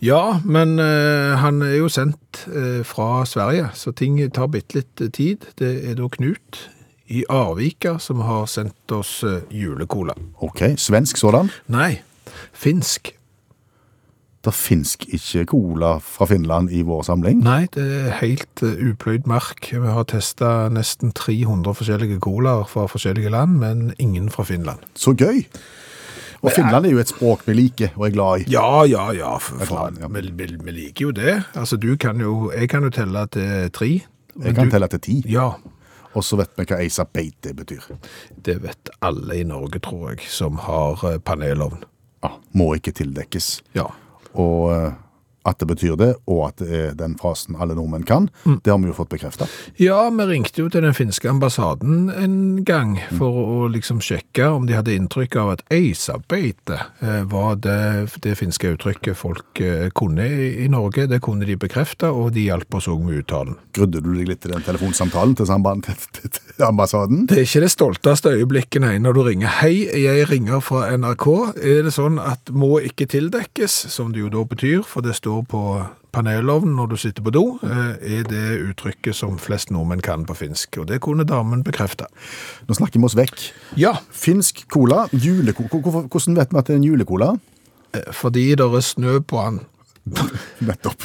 Ja, men eh, han er jo sendt eh, fra Sverige, så ting tar bitte litt eh, tid. Det er da Knut i Arvika som har sendt oss eh, julekola. OK, svensk sådan. Nei, finsk. Det finsk ikke cola fra Finland i vår samling. Nei, det er helt eh, upløyd mark. Vi har testa nesten 300 forskjellige colaer fra forskjellige land, men ingen fra Finland. Så gøy! Og Finland er jo et språk vi liker og er glad i. Ja, ja, ja. For, faen. faen, ja. Vi, vi, vi liker jo det. Altså, du kan jo Jeg kan jo telle til tre. men Jeg kan du- telle til ti, Ja. og så vet vi hva Eisa Beite betyr. Det vet alle i Norge, tror jeg, som har eh, panelovn. Ja, må ikke tildekkes. Ja. Og eh, at det betyr det, og at det er den frasen alle nordmenn kan, Mm. det har vi jo fått bekrefta. Ja, vi ringte jo til den finske ambassaden en gang for å liksom sjekke om de hadde inntrykk av at eisabeite eh, var det, det finske uttrykket folk eh, kunne i, i Norge. Det kunne de bekrefte, og de hjalp oss òg med uttalen. Grudde du deg litt til den telefonsamtalen til, samband, til, til ambassaden? Det er ikke det stolteste øyeblikket nei, når du ringer 'Hei, jeg ringer fra NRK'. Er det sånn at 'må ikke tildekkes', som det jo da betyr, for det står på, panelovn når du sitter på do, eh, er det uttrykket som flest nordmenn kan på finsk. Og det kunne damen bekrefte. Nå snakker vi oss vekk. Ja, Finsk cola, juleko hvor- hvorfor- Hvordan vet vi at det er en julecola? eh, fordi det er snø på han. Nettopp.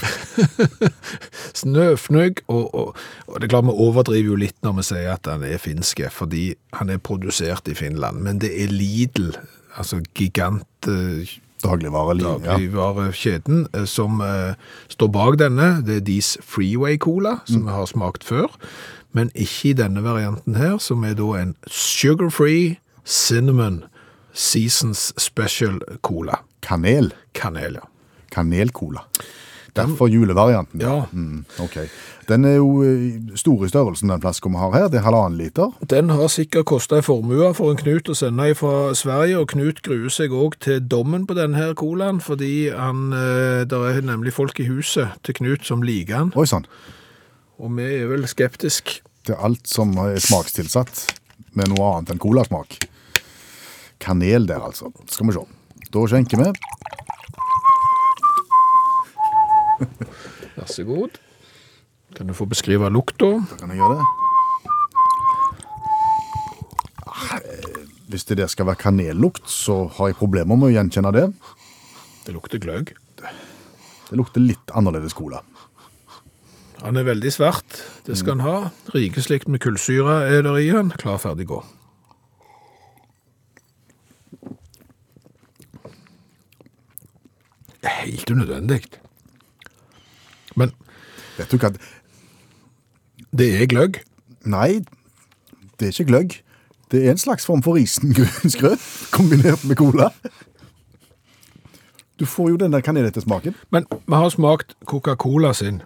Snøfnugg, og, og, og det er klart vi overdriver jo litt når vi sier at han er finske, fordi han er produsert i Finland, men det er Lidl, altså gigant... Eh, Dagligvareliv. Ja. dagligvarekjeden eh, som eh, står bak denne. Det er Dees Freeway Cola, som vi har smakt før, men ikke i denne varianten her, som er da en sugar-free cinnamon seasons special cola. Kanel. Kanel, ja. Kanelcola. Derfor julevarianten. Ja. Mm, ok. Den er jo eh, stor i størrelsen, den flasken vi har her. Det er halvannen liter. Den har sikkert kosta ei formue for en Knut å sende fra Sverige, og Knut gruer seg òg til dommen på denne her colaen, fordi han, eh, der er nemlig folk i huset til Knut som liker han, Oi sann. og vi er vel skeptiske. til alt som er smakstilsatt med noe annet enn colasmak. Kanel der, altså. Skal vi se. Da skjenker vi. Vær så god. Kan du få beskrive lukta? Kan jeg gjøre det? Ah, eh, Hvis det der skal være kanellukt, så har jeg problemer med å gjenkjenne det. Det lukter gløgg. Det lukter litt annerledes cola. Han er veldig svart. Det skal han ha. Rikeslikt med kullsyre er der i han. Klar, ferdig, gå. Det er Helt unødvendig. Men Vet du hva? det er gløgg. Nei, det er ikke gløgg. Det er en slags form for risengrynsgrøt kombinert med cola. Du får jo den der kanelete-smaken. Men vi har smakt Coca-Cola sin,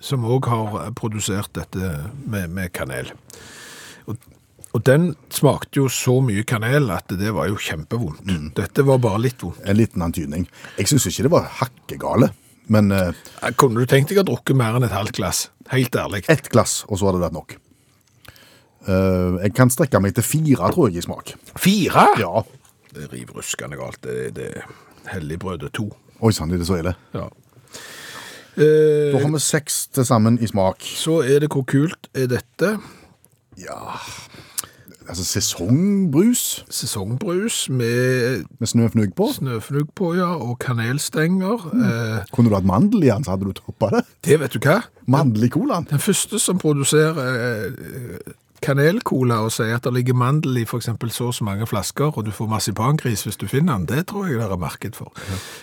som òg har eh, produsert dette med, med kanel. Og, og den smakte jo så mye kanel at det var jo kjempevondt. Dette var bare litt vondt. En liten antydning. Jeg syns ikke det var hakkegale, men eh, Eh, Kunne du tenkt deg å drukke mer enn et halvt glass? Helt ærlig. ett glass, og så hadde det vært nok. Eh, jeg kan strekke meg til fire, tror jeg, i smak. Fire? Ja. Det er rivruskende galt. Det, det er helligbrødet to. Oi sann, det er så ille. Ja. Da Eh, har vi seks til sammen i smak. så er det hvor kult er dette? Ja Altså sesongbrus Sesongbrus med med snøfnugg på. snøfnugg på, ja, og kanelstenger. Eh, Kunne du hatt mandel i den, så hadde du toppa det. Det vet du hva? Mandel i colaen. Den første som produserer eh, kanelcola og sier at det ligger mandel i for eksempel så og så mange flasker, og du får marsipangris hvis du finner den, det tror jeg det er marked for.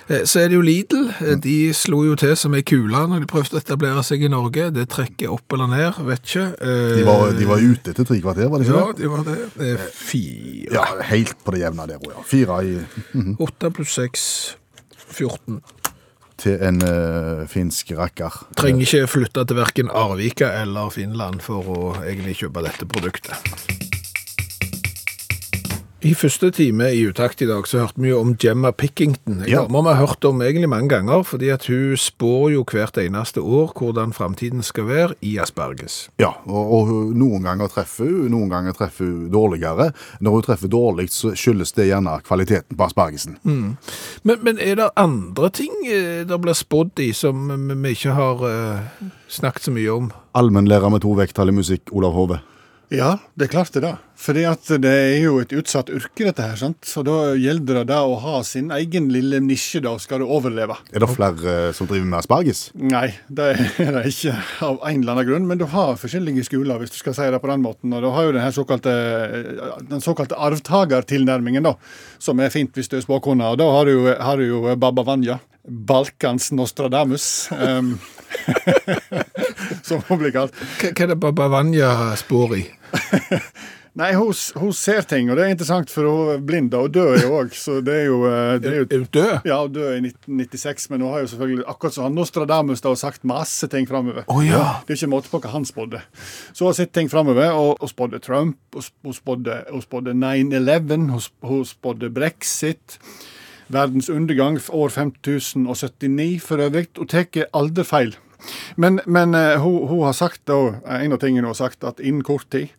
Eh, Så er det jo Lidl. Eh, De slo jo til som ei kule når de prøvde å etablere seg i Norge. Det trekker opp eller ned, vet ikke. Eh, De var, de var ute etter tre kvarter, var de ikke Ja, det? de var det. Eh, Fire. Ja, helt på det jevne der òg, ja. Fire i, Åtte pluss seks. 14. til en eh, finsk rakker. Trenger ikke flytte til verken Arvika eller Finland for å egentlig kjøpe dette produktet. I første time i Utakt i dag så hørte vi jo om Gemma Pickington. En Ja. dame vi har hørt om egentlig mange ganger, fordi at hun spår jo hvert eneste år hvordan framtiden skal være i asparges. Ja, og, og hun- noen ganger treffer hun, noen ganger treffer hun dårligere. Når hun treffer dårlig, så skyldes det gjerne kvaliteten på aspergesen. Men, men er det andre ting eh, det blir spådd i som vi vi ikke har eh, snakket så mye om? Allmennlærer med to vekttall i musikk, Olav Hove. Ja, det er klart det, da. Fordi at det er jo et utsatt yrke, dette her. sant? Så da gjelder det da å ha sin egen lille nisje, da, skal du overleve. Er det flere eh, som driver med asperges? Nei, det er det ikke av en eller annen grunn, men du har forskjellige skoler, hvis du skal si det på den måten. Og du har jo den her såkalte, den såkalte arvtagertilnærmingen, da, som er fint hvis du er spåkone. Og da har du, jo- har du jo Baba Vanja, Balkans Nostradamus, em, som hun blir kalt. Hva hva er det Babavanya spår i? Nei, hun, s- hun ser ting, og det er interessant, for hun er blind da, og død er hun òg, så det er jo, eh, det er jo Er hun død? Ja, og død i 1996, men hun har jo selvfølgelig, akkurat som han Nostradamus, da, sagt masse ting framover. Å ja. Det er ikke måte på hva han spådde. Så har hun sett ting framover, og hun spådde Trump, og sp- hun spådde, hun spådde 9-11, hun sp- hun spådde brexit, verdens undergang f- år 5079 for øvrig, og tar aldri feil. Men, men eh, hun, hun har sagt, da, eh, en av tingene hun har sagt, at innen kort tid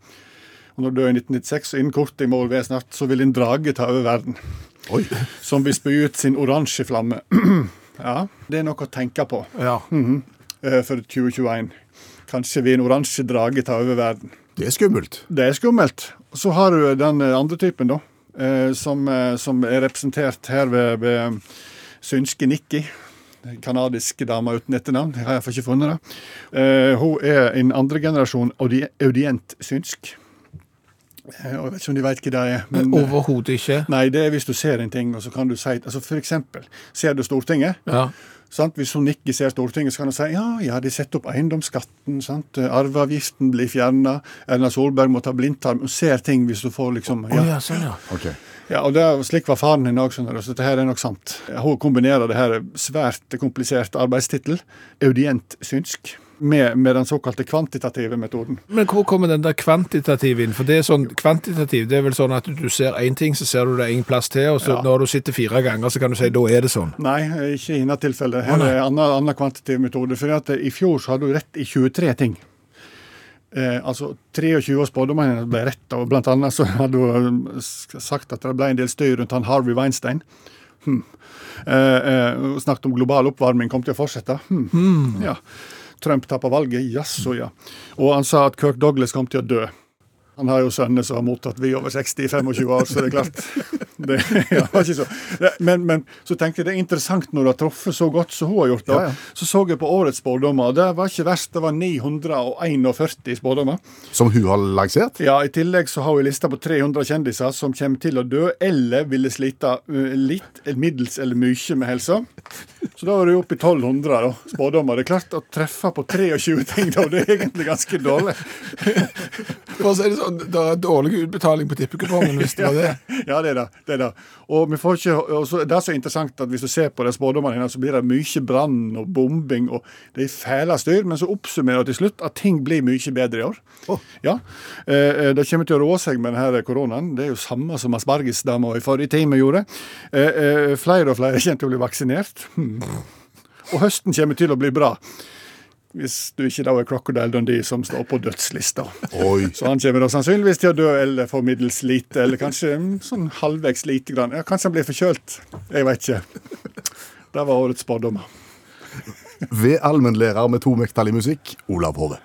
og når du dør i 1996, og innen kort tid må det være snart, så vil en drage ta over verden. Som vil spy ut sin oransje flamme. Ja, det er noe å tenke på Ja. eh, for 2021. Kanskje vil en oransje drage ta over verden. Det er skummelt. Det er skummelt. Og Så har du den eh, andre typen, da. eh, Som, eh, som er representert her ved, ved eh, synske Nikki. Den Kanadiske dame uten etternavn. Jeg har iallfall ikke funnet det. Eh, Hun er en andregenerasjon audi- audient synsk. Eh, og Jeg vet ikke om de vet hva det er. men- Overhodet ikke. Nei, det er hvis du ser en ting, og så kan du si altså For eksempel, ser du Stortinget? Ja. Sant? Hvis hun ikke ser Stortinget, så kan hun si ja, ja, de setter opp eiendomsskatten, sant? arveavgiften blir fjerna, Erna Solberg må ta blindtarm. Hun ser ting hvis du får liksom Å ja. ja, sånn, ja. Ok. Ja, og det, er- Slik var faren din òg, skjønner du, så dette her er nok sant. Hun kombinerer det her svært kompliserte arbeidstittel, audient synsk, med, med den såkalte kvantitative metoden. Men hvor kommer den der kvantitativ inn? For det er sånn, kvantitativ det er vel sånn at du ser én ting, så ser du det en plass til, og så når du sitter fire ganger, så kan du si da er det sånn. Nei, ikke i dette tilfellet. Her er en annen, annen kvantitativ metode. For at I fjor så hadde du rett i 23 ting. Eh, altså 23 av spådommene hennes ble rett, og blant annet så hadde hun eh, s- sagt at det ble en del støy rundt han Harvey Weinstein. Hm. Eh, eh, hun snakket om global oppvarming kom til å fortsette. Hm. Ja. Trump tapte valget, jaså ja. Og han sa at Kirk Douglas kom til å dø. Han har jo sønner som har mottatt vi over 60 i 25 år, så det er klart. Det, ja, det var ikke så. Det, men, men så tenkte jeg det er interessant når du har truffet så godt som hun har gjort. Da. Ja, ja. Så så jeg på årets spådommer, og det var ikke verst. Det var 941 spådommer. Som hun har lansert? Ja, I tillegg så har hun en liste på 300 kjendiser som kommer til å dø eller ville slite eh, litt, eller middels eller mye med helsa. Så da er du oppe i 1200 da, spådommer. Det er klart å treffe på 23 ting, da. Det er egentlig ganske dårlig. For å si det sånn, det er dårlig utbetaling på tippekupongen hvis det var det. Ja, det er det. det, er det. Og vi får ikke, og så, det er så interessant at hvis du ser på de spådommene hennes, så blir det mye brann og bombing og det er fæle styr, men så oppsummerer hun til slutt at ting blir mye bedre i år. Ja. Eh, eh, det kommer til å rå seg med denne koronaen. Det er jo samme som aspargesdama i forrige time gjorde. Eh, eh, flere og flere kommer til å bli vaksinert. Hmm. Og høsten kommer til å bli bra. Hvis du ikke da er Crocodile Dundee som står på dødslista. Oi. Så han kommer da sannsynligvis til å dø eller få middels lite, eller kanskje mm, sånn halvveis lite grann. Ja, kanskje han blir forkjølt. Jeg vet ikke. Det var årets spådommer. Ved allmennlærer med to vekttall i musikk, Olav Hove.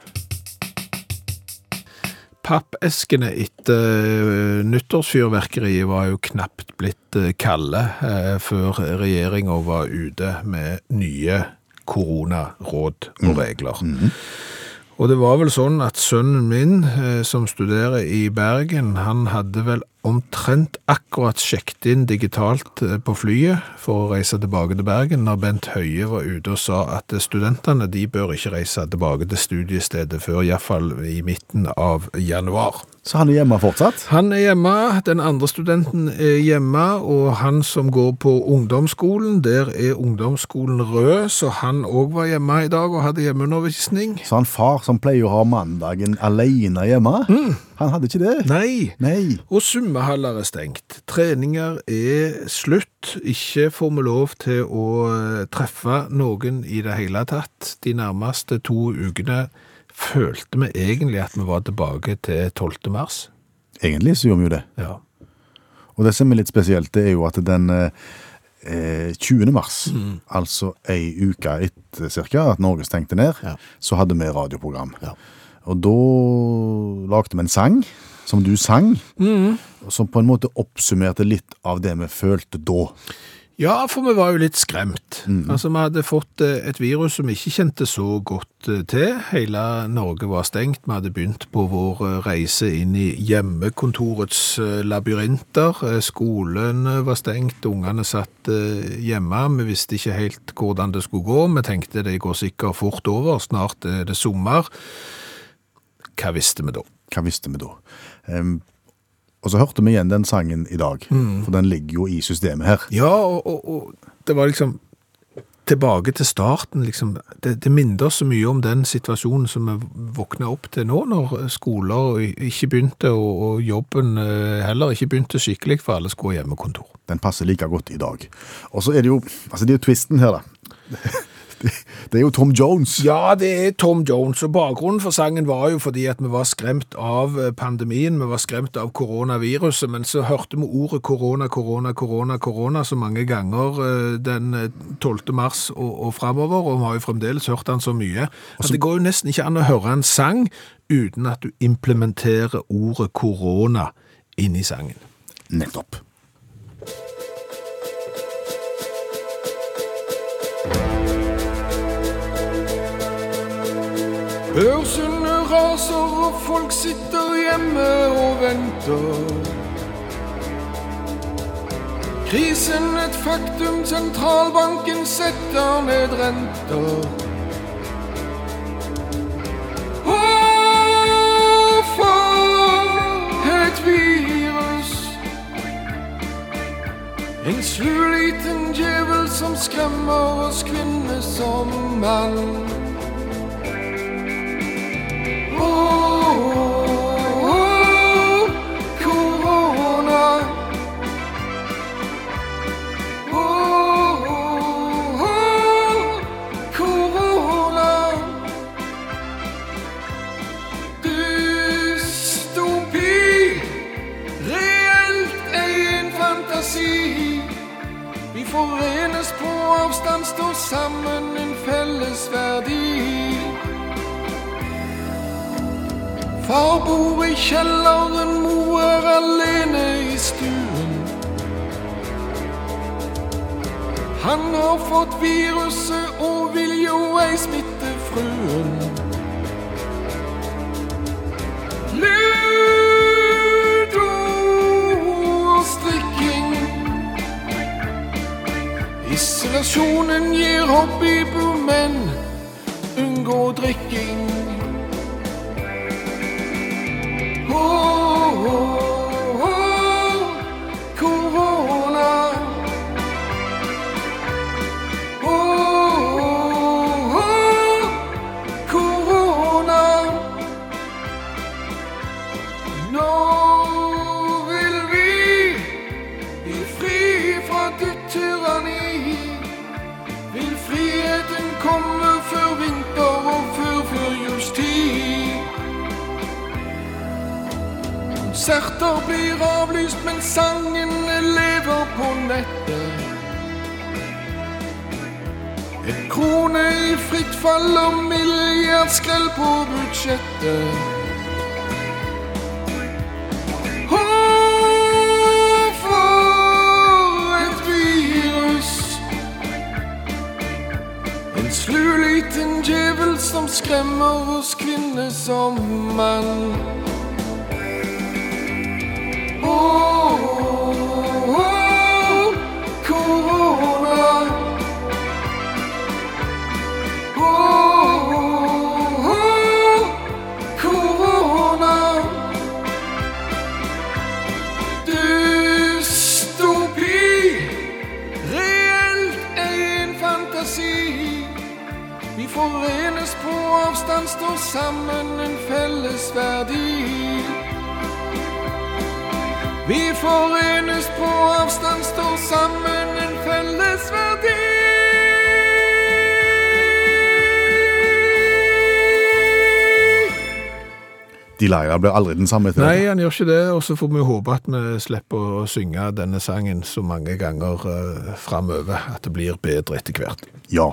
Pappeskene etter eh, nyttårsfyrverkeriet var jo knapt blitt eh, kalde eh, før regjeringa var ute med nye koronaråd og regler. Og det var vel sånn at sønnen min, eh, som studerer i Bergen, han hadde vel omtrent akkurat sjekket inn digitalt eh, på flyet for å reise tilbake til Bergen, når Bent Høie var ute og sa at eh, studentene de bør ikke reise tilbake til studiestedet før iallfall i midten av januar. Så han er hjemme fortsatt? Han er hjemme, den andre studenten er hjemme, og han som går på ungdomsskolen, der er ungdomsskolen rød, så han òg var hjemme i dag og hadde hjemmeundervisning. Så han far som pleier å ha mandagen alene hjemme, han hadde ikke det? Nei, Nei. Og svømmehaller er stengt. Treninger er slutt. Ikke får vi lov til å eh, treffe noen i det hele tatt. De nærmeste to ukene følte vi egentlig at vi var tilbake til 12. mars. Egentlig så gjorde vi jo det. Ja. Og det som er litt spesielt, det er jo at den eh, eh, 20. mars, altså ei uke etter cirka, at Norge stengte ned, Ja. så hadde vi radioprogram. Og da lagde vi en sang, som du sang, som på en måte oppsummerte litt av det vi følte da. Ja, for vi var jo litt skremt. Altså, Vi hadde fått eh, et virus som vi ikke kjente så godt eh, til. Hele Norge var stengt. Vi hadde begynt på vår eh, reise inn i hjemmekontorets eh, labyrinter. Eh, Skolene var stengt, ungene satt eh, hjemme. Vi visste ikke helt hvordan det skulle gå. Vi tenkte det går sikkert fort over, snart er det sommer. Hva visste vi da? Hva visste vi da? Em, og så hørte vi igjen den sangen i dag, Mm. for den ligger jo i systemet her. Ja, og, og, og det var liksom tilbake til starten, liksom. Det, det minner oss så mye om den situasjonen som vi våkna opp til nå, når skoler ikke begynte, og, og jobben eh, heller ikke begynte skikkelig, for alle skulle ha hjemmekontor. Den passer like godt i dag. Og så er det jo, altså det er jo twisten her da. Det er jo Tom Jones. Ja, det er Tom Jones, og bakgrunnen for sangen var jo fordi at vi var skremt av eh, pandemien, vi var skremt av koronaviruset, men så hørte vi ordet korona, korona, korona, korona så mange ganger eh, den eh, 12. mars og, og fremover, og vi har jo fremdeles hørt den så mye. At det går jo nesten ikke an å høre en sang uten at du implementerer ordet korona inn i sangen. Nettopp. Børsene raser, og folk sitter hjemme og venter. Krisen et faktum, sentralbanken setter ned renter. Og for et virus! En slu liten djevel som skremmer oss kvinner som mann. Oh, Oh, Vi Forenes på avstand, står sammen en felles verdi. Far bor i kjelleren, mor er alene i stuen. Han har fått viruset og vil jo ei smitte fruen. Ludo og strikking. Isolasjonen gir hobbyboom, men unngå drikking. Komme før vinter og før førjulstid. Konserter blir avlyst, men sangene lever på nettet. En krone i fritt fall og milliardskrell på budsjettet. Å, for et virus! En slu liten djevel som skremmer oss kvinner som mann. Vi Forenes på avstand, står sammen en felles verdi. Vi forenes på avstand, står sammen en felles verdi. Delilah blir aldri den samme etter Nei, dette. han gjør ikke det, og så får vi håpe at vi slipper å synge denne sangen så mange ganger eh, fremover, at det blir bedre etter hvert. Ja.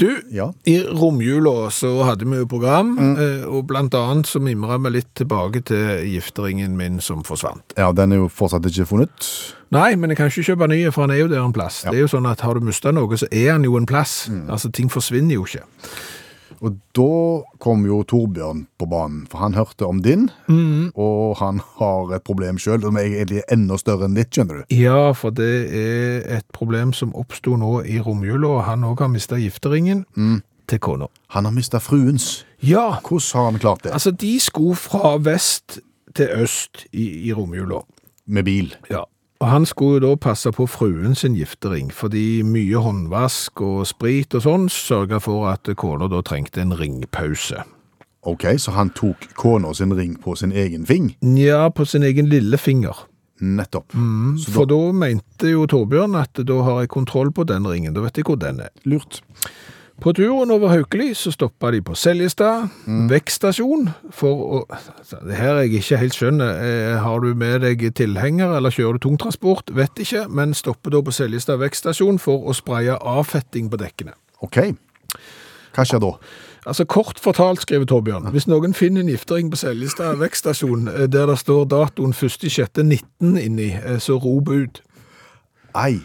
Du, Ja. i romjula så hadde vi jo program, eh, og blant annet så mimra vi litt tilbake til gifteringen min som forsvant. ja, den er jo fortsatt ikke funnet. Nei, men jeg kan ikke kjøpe nye, for han er jo der en plass. Det er jo sånn at har du mista noe, så er han jo en plass. Altså, ting forsvinner jo ikke. Og da kom jo Torbjørn på banen, for han hørte om din, Mm. og han har et problem sjøl, som er egentlig enda større enn ditt, skjønner du. Ja, for det er et problem som oppsto nå i romjula, og han òg har mista gifteringen til kona. Han har mista fruens. Ja, Hvordan har han klart det? Altså, de skulle fra vest til øst i, i romjula. Med bil. Ja. Og han skulle jo da passe på fruen sin giftering, fordi mye håndvask og sprit og sånn sørga for at kona da trengte en ringpause. Ok, så han tok kona sin ring på sin egen fing. Nja, på sin egen lillefinger. Nettopp. Så For da mente jo Torbjørn at da har jeg kontroll på den ringen, da vet jeg hvor den er. lurt. På turen over Haukeli så stoppa de på Seljestad vektstasjon for å altså, Det her er jeg ikke helt skjønner. Eh, Har du med deg tilhenger, eller kjører du tungtransport? Vet ikke, men stopper da på Seljestad vektstasjon for å spraye avfetting på dekkene. OK. Hva skjer da? Altså Kort fortalt, skriver Torbjørn, hvis noen finner en giftering på Seljestad vektstasjon eh, der det står datoen 1.6.19 inni, eh, så rop ut. Ei.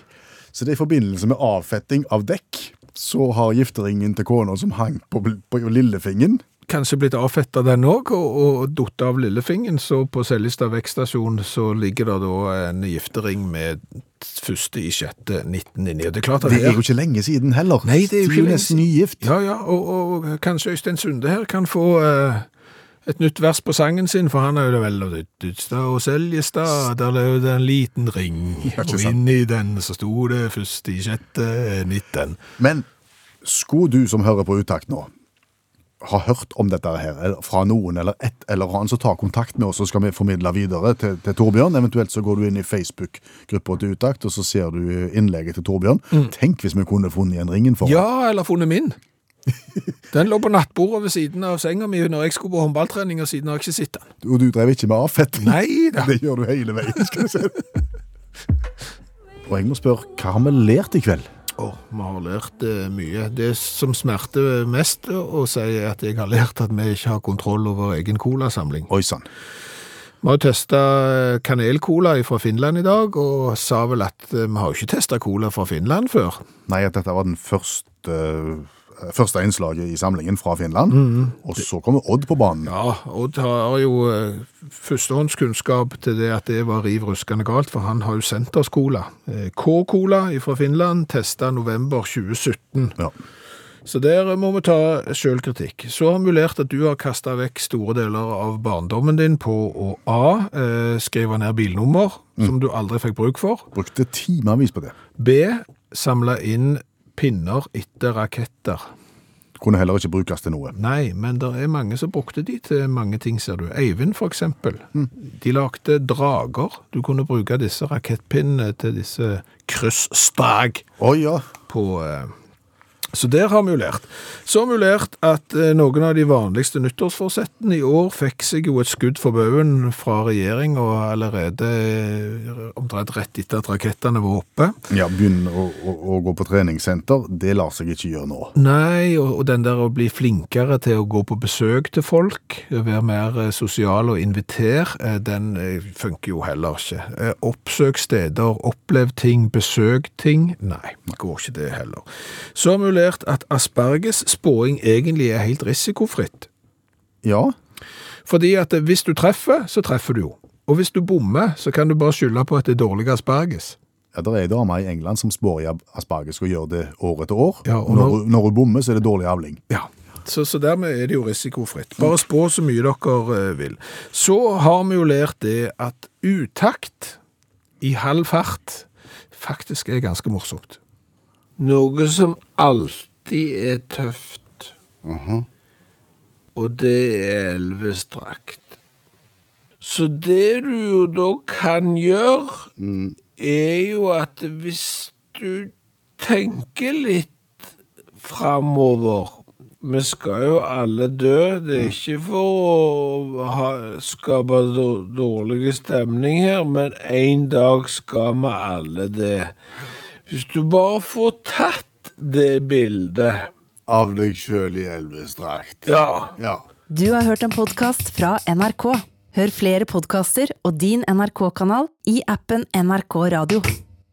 Så det er i forbindelse med avfetting av dekk, så har gifteringen til kona som hang på, på lillefingeren kanskje blitt avfetta den òg, og, og datt av lillefingeren. Så på Seljestad vektstasjon så ligger det da en giftering med første i sjette 1999. Og det er klart at Det er her- jo ikke lenge siden heller. Nei, det er jo ikke lenge nesten siden. nygift. Ja, ja, og, og kanskje Øystein Sunde her kan få eh, et nytt vers på sangen sin, for han er jo det vel Dudstad og Seljestad, der lød det en liten ring, og ikke sant. inni den så sto det første i sjette 19. Men skulle du som hører på Utakt nå, ha hørt om dette her eller fra noen eller et eller annet, så ta kontakt med oss, så skal vi formidle videre til, til Torbjørn. Eventuelt så går du inn i Facebook-gruppa til Utakt, og så ser du innlegget til Torbjørn. Tenk hvis vi kunne funnet igjen ringen for Ja, eller funnet min. Den lå på nattbordet ved siden av senga mi når jeg skulle på håndballtrening, og siden har jeg ikke sett den. Og du drev ikke med avfetting? Nei da. Det gjør du hele veien, skal du se. Og jeg må spørre, hva har vi lært i kveld? Åh, vi har lært eh, mye. Det som smerter mest eh, å si er at jeg har lært at vi ikke har kontroll over egen colasamling. Oi sann. Vi har testa kanelcola fra Finland i dag, og sa vel at eh, vi har jo ikke testa cola fra Finland før. Nei, at dette var den første, eh, første innslaget i samlingen fra Finland. Og så kommer Odd på banen. Ja, Odd har jo eh, førstehåndskunnskap til det at det var riv ruskende galt, for han har jo sendt oss cola. Eh, K-cola fra Finland testa november 2017. Ja. Så der må vi ta sjølkritikk. Så har vi lært at du har kasta vekk store deler av barndommen din på å A. Eh, skrive ned bilnummer, som du aldri fikk bruk for. Brukte timevis på det. B. Samle inn pinner etter raketter. Kunne heller ikke brukes til noe. Nei, men det er mange som brukte de til mange ting, ser du. Eivind, for eksempel. De lagde drager. Du kunne bruke disse rakettpinnene til disse kryssstag Å ja. på eh, Så der har vi jo lært. Så har vi jo lært at eh, noen av de vanligste nyttårsforsettene i år fikk seg jo et skudd for baugen fra regjeringa allerede eh, omtrent rett etter at rakettene var oppe. ja Begynne å, å, å gå på treningssenter, det lar seg ikke gjøre nå. Nei, og, og den der å bli flinkere til å gå på besøk til folk, være mer eh, sosial og inviter, eh, den eh, funker jo heller ikke. Eh, Oppsøk steder, opplev ting, besøk ting. Nei, går ikke det heller. Så har vi jo lært at asperges spåing egentlig er helt risikofritt. Ja, Fordi at eh, hvis du treffer, så treffer du jo. Og hvis du bommer, så kan du bare skylde på at det er dårlig asperges. ja det er ei dame i England som spår i asparges og gjør det år etter år. Ja, og og når, hun- når hun bommer, så er det dårlig avling. Ja. Så, så dermed er det jo risikofritt. Bare spå så mye dere eh, vil. Så har vi jo lært det at utakt i halv fart faktisk er ganske morsomt. Noe som alltid er tøft. Mhm. Og det er elvestrakt. Så det du jo da kan gjøre, Mm. er jo at hvis du tenker litt framover Vi skal jo alle dø. Det er ikke for å ha, skape dår- dårlig stemning her, men en dag skal vi alle det. Hvis du bare får tatt det bildet Av deg sjøl i elvestrakt. Ja. Ja. Du har hørt en podkast fra NRK. Hør flere podkaster og din NRK-kanal i appen NRK Radio.